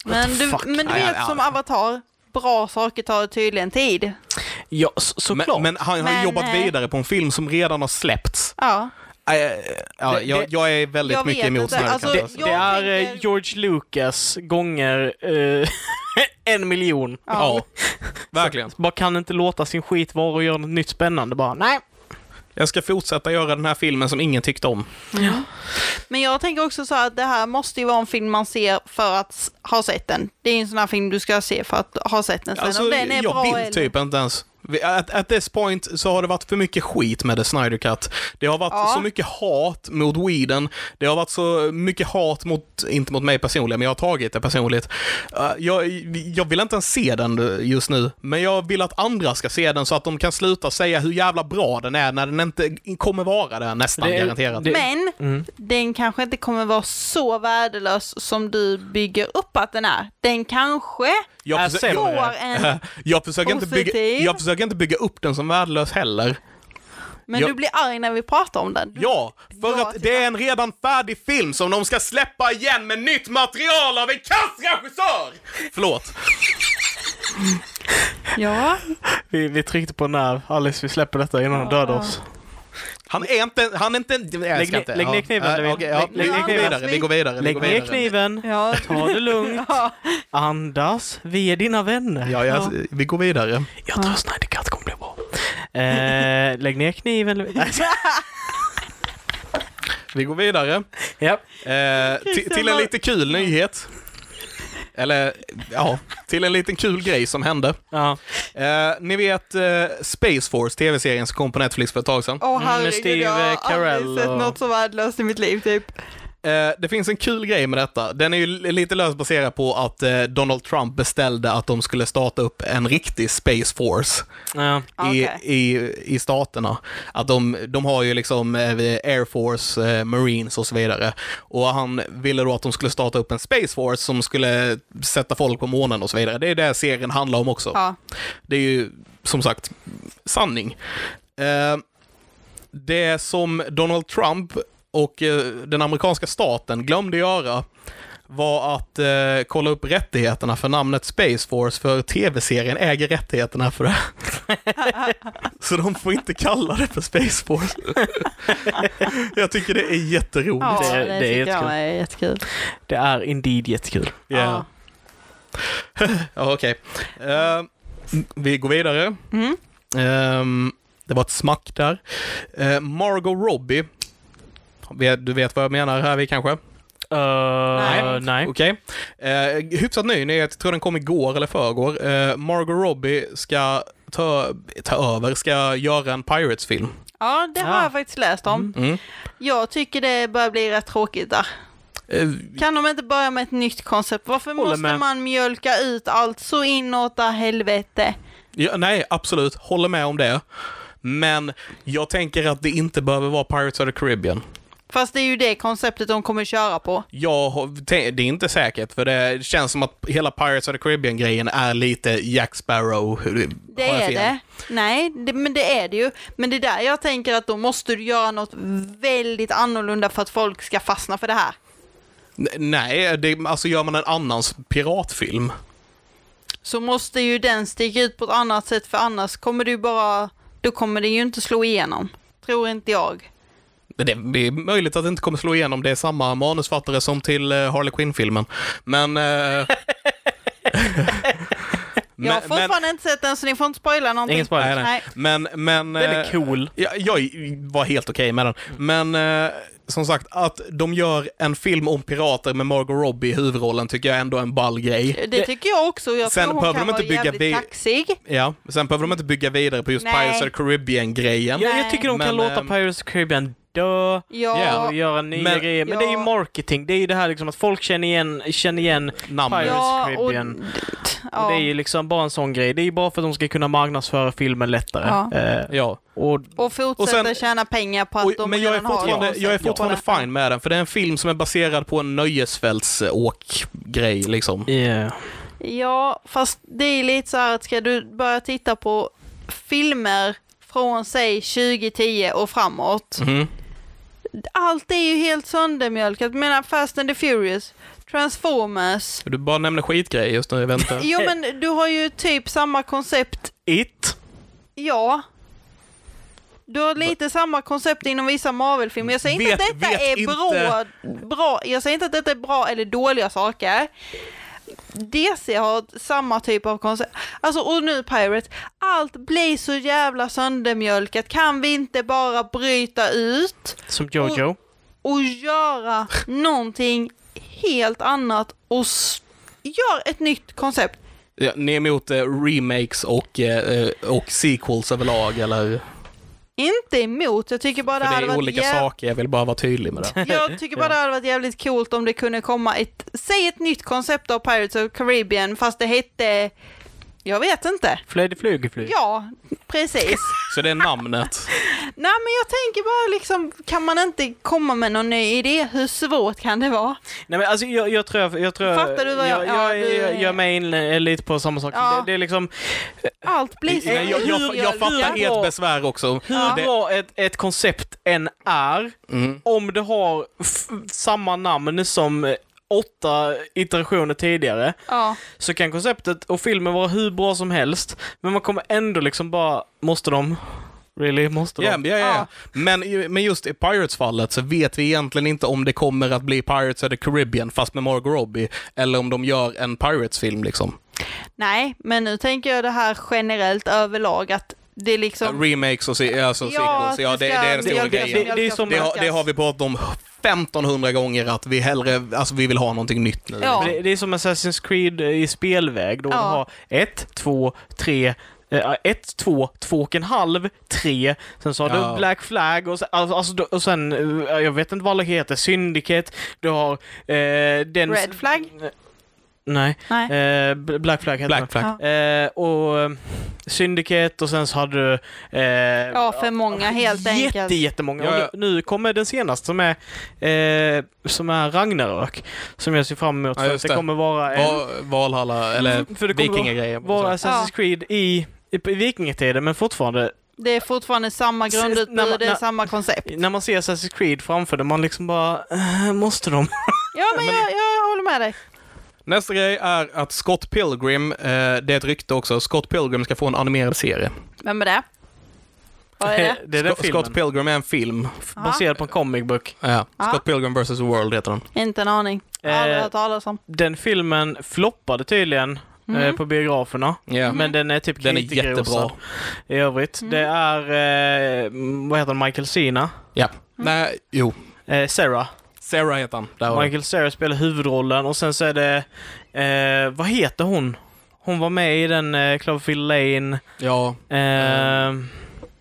Men du,
fuck?
men du
Nej, ja,
vet
ja.
som Avatar, bra saker tar tydligen tid.
Ja, så, såklart.
Men, men han har
Men,
jobbat
eh,
vidare på en film som redan har släppts.
Ja.
Äh, ja,
Det-
jag,
det-
jag är väldigt
Jag
mycket
vet
emot
inte,
Snyder
alltså,
Cut,
det,
alltså.
jag
det är eh,
tänker-
George Lucas gånger eh, en miljon.
Ja,
ja.
verkligen.
Bara kan inte låta sin skit vara och göra något nytt spännande bara. Nej.
Jag ska fortsätta göra den här filmen som ingen tyckte om.
Men jag tänker också så här att det här måste ju vara en film man ser för att s- ha sett den. Det är ju en sån här film du ska se för att ha sett den sen.
Alltså,
Om den är
jag
bra
vill
eller...
typ inte ens... Vi- At, at this point så har det varit för mycket skit med The Snyder Cut. Det har varit
Ja.
så mycket hat mot Whedon. Det har varit så mycket hat mot, inte mot mig personligen, men jag har tagit det personligt. Eh, jag, jag vill inte ens se den just nu, men jag vill att andra ska se den så att de kan sluta säga hur jävla bra den är när den inte kommer vara det nästan
Det är-
garanterat.
det-
Men
Mm.
den kanske inte kommer vara så värdelös som du bygger upp att den är. Den kanske
jag,
Är
försö-
sämre.
Alltså, jag,
får en...
jag, försöker inte bygga,
Positiv.
jag försöker inte bygga upp den som värdelös heller.
Men
jag-
du blir arg när vi pratar om den.
Ja, för
Ja,
att det är en redan färdig film som de ska släppa igen med nytt material av en kassregissör! Förlåt.
Ja.
Vi, vi tryckte på nerv. Alice, vi släpper detta innan hon dödar oss.
Han är inte... Han är inte... Jag ska
Lägg ner-
inte.
lägg ner kniven,
Ja,
David.
okej, ja.
Lägg- lägg
vi,
ner
går
kniven.
vidare, vi går vidare. vi
Lägg
går
ner
vidare.
kniven.
ja.
Ta det lugnt.
Ja.
Andas. Vi är dina vänner.
Ja, jag, vi går vidare.
Jag tror Snyder Cut kommer bli bra. Eh, lägg ner kniven. Nej, jag skojar.
Vi går vidare.
ja.
Eh, ti- till en lite kul nyhet. Eller, ja, till en liten kul grej som hände.
ja.
Eh, ni vet eh, Space Force, tv-serien som kom på Netflix för ett tag sedan.
Åh
Mm, med
herregud,
Steve
jag har aldrig
Carell
sett
och-
något så värdelöst i mitt liv typ.
Eh, det finns en kul grej med detta. Den är ju li- lite löst baserad på att eh, Donald Trump beställde att de skulle starta upp en riktig Space Force
ja.
i,
Okej.
i, i staterna. Att de, de har ju liksom eh, Air Force, eh, Marines och så vidare. Och han ville då att de skulle starta upp en Space Force som skulle sätta folk på månen och så vidare. Det är det serien handlar om också.
Ja.
Det är ju som sagt sanning. Eh, det som Donald Trump och eh, den amerikanska staten glömde göra var att eh, kolla upp rättigheterna för namnet Space Force för tv-serien äger rättigheterna för det. Så de får inte kalla det för Space Force. Jag tycker det är jätteroligt.
Ja, det,
Det- det är
tycker
jättekul.
jag med är jättekul.
Det är indeed jättekul.
Ja. Ja, okej. Eh, vi går vidare.
Mm.
Ehm, det var ett smack där. Eh, Margot Robbie. Vet- Du vet vad jag menar här vi kanske?
Eh,
Nej.
nej.
Okej. Eh, hyfsat ny nyhet, jag tror den kom igår eller förrgår. Eh, Margot Robbie ska ta, ta över, ska göra en Pirates-film.
Ja, det har
Ah.
jag faktiskt läst om.
Mm.
Jag tycker det börjar bli rätt tråkigt där.
Eh,
Kan de inte börja med ett nytt koncept? Varför
Håller
måste
med.
man mjölka ut allt så inåt där helvete?
ja, nej, absolut, håller med om det. Men jag tänker att det inte behöver vara Pirates of the Caribbean.
Fast det är ju det konceptet de kommer köra på.
Jag har- te- det är inte säkert, för det känns som att hela Pirates of the Caribbean-grejen är lite Jack Sparrow. Hur-
Det
har jag
är
fel?
det. Nej, det, men det är det ju. Men det är där jag tänker att då måste du göra något väldigt annorlunda för att folk ska fastna för det här.
N- Nej, det, alltså gör man en annans piratfilm,
så måste ju den sticka ut på ett annat sätt för annars kommer du bara, då kommer det ju inte slå igenom. Tror inte jag.
Men Det det är möjligt att det inte kommer slå igenom. Det är samma manusfattare som till eh, Harley Quinn-filmen. Men... eh,
jag har fortfarande inte sett den så ni får inte spoila någonting.
Ingen spoiler.
Nej, nej. Men, men...
Den
eh,
är cool.
Jag, jag var helt okej med den. Men eh, som sagt, att de gör en film om pirater med Margot Robbie i huvudrollen tycker jag ändå är en ball grej.
Det tycker jag också. Jag
Sen
tror hon
behöver
kan
de inte
vara
bygga
jävligt
vi-
kaxig.
Ja, sen behöver de inte bygga vidare på just
Nej.
Pirates of the Caribbean-grejen.
Jag,
Nej.
jag tycker de kan
Men,
låta
ehm,
Pirates of the Caribbean dö.
Ja,
Ja,
och göra nya
Men-
grejer. Men det är ju
Ja.
marketing. Det är ju det här liksom att folk känner igen, känner igen
Namnet.
Pirates of the
ja, och,
Caribbean.
ja.
Och det är ju liksom bara en sån grej. Det är ju bara för att de ska kunna marknadsföra filmen lättare.
Ja.
Eh,
Ja.
och
och fortsätta
och sen-
tjäna pengar på att
Och,
de
men jag är
redan har
fortfarande, jag är
konceptet.
fortfarande fine med den, för det är en film som är baserad på en nöjesfältsåk-grej liksom.
yeah.
Ja, fast det är lite så här att ska du börja titta på filmer från säg 2010 och framåt.
Mhm.
Allt är ju helt söndermjölkat. Jag menar Fast and the Furious, Transformers.
Du bara nämner skitgrejer just nu, jag väntar.
Jo men du har ju typ samma koncept,
It.
ja. Du har lite samma koncept inom vissa Marvel-filmer. Jag säger inte
Vet-
att detta
vet
är
inte.
bra, bra. Jag säger inte att detta är bra eller dåliga saker. DC har samma typ av koncept. Alltså, och nu Pirates. Allt blir så jävla söndermjölkat. Kan vi inte bara bryta ut
Som Jojo.
och göra någonting helt annat och s- gör ett nytt koncept?
Ja, ni är emot eh, remakes och, eh, eh, och sequels överlag, eller?
Inte emot, jag tycker bara det,
För
hade
det är
varit
olika
jäv-
saker, jag vill bara vara tydlig med det.
Jag tycker bara det hade varit jävligt coolt om det kunde komma ett, säg ett nytt koncept av Pirates of Caribbean fast det hette, jag vet inte.
Flöjde flyg, flyg.
Ja, precis.
Så det är namnet.
Nej men jag tänker bara liksom, kan man inte komma med någon ny idé? Hur svårt kan det vara?
Nej men alltså jag, jag tror jag, jag tror
Fattar du vad jag-
jag, jag,
ja, du-
jag, jag gör mig in eh, lite på samma sak.
Ja.
Det, det är liksom,
Allt blir så
Nej, jag, jag, jag fattar
helt.
ert besvär också.
hur
Ja.
bra ett, ett koncept än är,
Mm.
om det har f- samma namn som eh, åtta iterationer tidigare,
Ja,
så kan konceptet och filmen vara hur bra som helst, men man kommer ändå liksom bara, måste de? Really? Måste de?
Ja, ja, ja.
Ja.
Men, ju- men just i Pirates-fallet så vet vi egentligen inte om det kommer att bli Pirates of the Caribbean fast med Margot Robbie eller om de gör en Pirates-film liksom.
nej men nu tänker jag det här generellt överlag att det liksom...
Remakes och se, alltså sequels, ja det, det är den
ska
stora
mjölkas och
grejen.
Det- det är som-
Det har, det har
mjölkas.
vi pratat om 1500 gånger att vi hellre, alltså vi vill ha någonting nytt nu.
Ja.
Men Det, det är som Assassin's Creed eh, i spelväg då
Ja.
du har ett, två, tre, eh, ett, två, två och en halv, tre, sen så har
Ja.
du Black Flag och sen, alltså, alltså, du- och sen eh, jag vet inte vad alla heter, Syndicate, du har eh, den...
Red flag?
Nej,
Nej.
eh, B- Black Flag heter
Black Flag.
Ja.
den. Eh, och eh, Syndicate och sen så hade du... Eh,
Ja, för många helt
jätte,
enkelt.
Jättemånga.
Ja,
Ja,
ja.
Nu, nu kommer den senaste som är, eh, som är Ragnarök, som jag ser fram emot.
Ja,
för
just
att det
det.
kommer vara en,
Va- Valhalla eller
För Mm. det kommer
vikingagrejer.
vara
Så.
Assassin's Creed i, i, i vikingatiden, men fortfarande,
Det är fortfarande samma
Sen- när
grundutbud,
man-
det är
när-
samma koncept.
när man ser Assassin's Creed framför det, man liksom bara, "Eh, måste de?
Ja, men jag, jag håller med dig.
Nästa grej är att Scott Pilgrim, eh, det är ett rykte också, Scott Pilgrim ska få en animerad serie.
Vem är det? Vad är det?
är den
Scott, Scott
filmen.
Pilgrim är en film.
Baserad på en comic book.
Ja.
Ja.
Scott Pilgrim vs. World heter den.
Inte en aning. Aldrig
Eh,
hört talas om. Mm.
Den filmen floppade tydligen eh, på biograferna.
Ja.
Men den är typ
Mm. Den är
kritikerrosad
jättebra.
I övrigt. Det
Mm.
är, eh, vad heter han, Michael Cena?
Ja. Nej, jo.
Eh, Sarah.
Sarah heter han. Där var den.
Michael Cera spelar huvudrollen och sen så är det, eh, vad heter hon? Hon var med i den eh, Cloverfield Lane.
Ja,
Eh,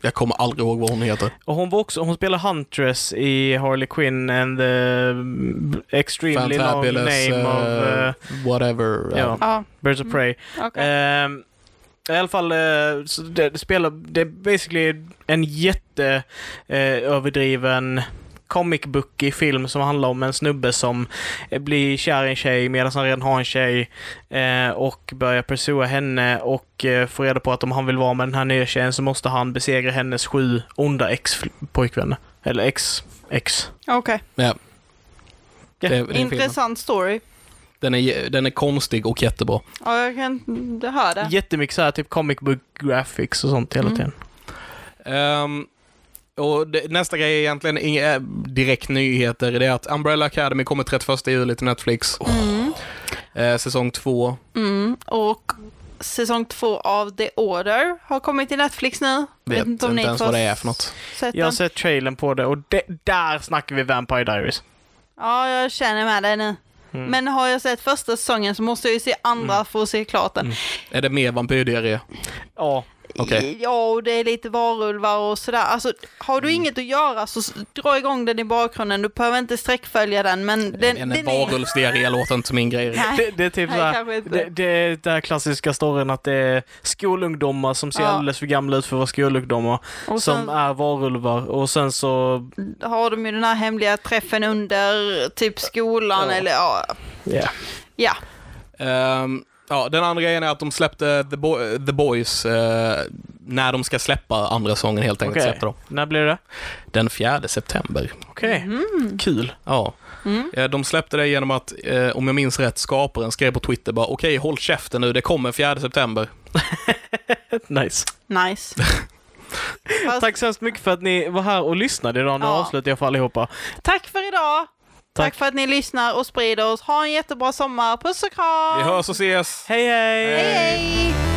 jag kommer aldrig ihåg vad hon heter.
Och hon var också, hon spelar Huntress i Harley Quinn and the mm, extremely long
Fantabulous,
name of
eh,
eh,
whatever.
ja.
Ja,
Birds of Prey.
okej.
Ehm, I alla fall, eh, så det, det spelar, det är basically en jätte eh, överdriven comic book film som handlar om en snubbe som eh, blir kär i en tjej medan han redan har en tjej eh, och börjar pursua henne och eh, får reda på att om han vill vara med den här nya tjejen så måste han besegra hennes sju onda ex-pojkvänner. Eller ex, ex.
Okej.
Eh,
Ja. Det, det är filmen.
Intressant story.
Den är, den är konstig och jättebra.
Ja, jag kan höra det.
Jättemycket så här, typ comic book graphics och sånt hela
Mm.
tiden.
Ehm, och det, nästa grej är egentligen inga eh, direkt nyheter. Det är att Umbrella Academy kommer 31 juli till Netflix.
Mm.
Eh, säsong två.
Mm. Och säsong två av The Order har kommit till Netflix nu.
Vet, inte
ni
ens
två
vad det är för något.
sett
Jag har
den?
sett trailern på det och det, där snackar vi Vampire Diaries.
Ja, jag känner med dig nu.
Mm.
Men har jag sett första säsongen så måste jag ju se andra för att se klart den.
Är det mer vampyrdiarré?
Ja,
Okej.
Ja, och det är lite varulvar och sådär. Alltså, har du
Mm.
inget att göra så s- dra igång den i bakgrunden. Du behöver inte sträckfölja den, men den,
En
den
varulvsdiarré låter inte som min grej.
Nej.
det, det är typ
Nej,
såhär,
kanske inte.
det, det är den här klassiska storyn att det är skolungdomar som ser
Ja.
alldeles för gamla ut för att vara skolungdomar
Och
som
sen-
är varulvar och sen så,
Har de ju den här hemliga träffen under typ skolan
Ja.
eller ja.
ja.
Ja.
Ehm, ja, den andra grejen är att de släppte The, Bo- The Boys eh, när de ska släppa andra säsongen helt enkelt.
Okej.
Släpper de.
När blir det?
Den 4 september.
Okej.
Mhm.
Kul.
Ja.
Mm.
Eh, De släppte det genom att, eh, om jag minns rätt, skaparen skrev på Twitter bara okej, håll käften nu, det kommer 4 september.
Nice.
Nice. Fast, tack.
Tack så hemskt mycket för att ni var här och lyssnade idag. Nu
Ja.
avslutar jag för allihopa.
för idag. Tack.
Tack.
för att ni lyssnar och sprider oss. Ha en jättebra sommar. Puss och kram.
Vi hörs och ses!
Hej hej!
Hej, hej.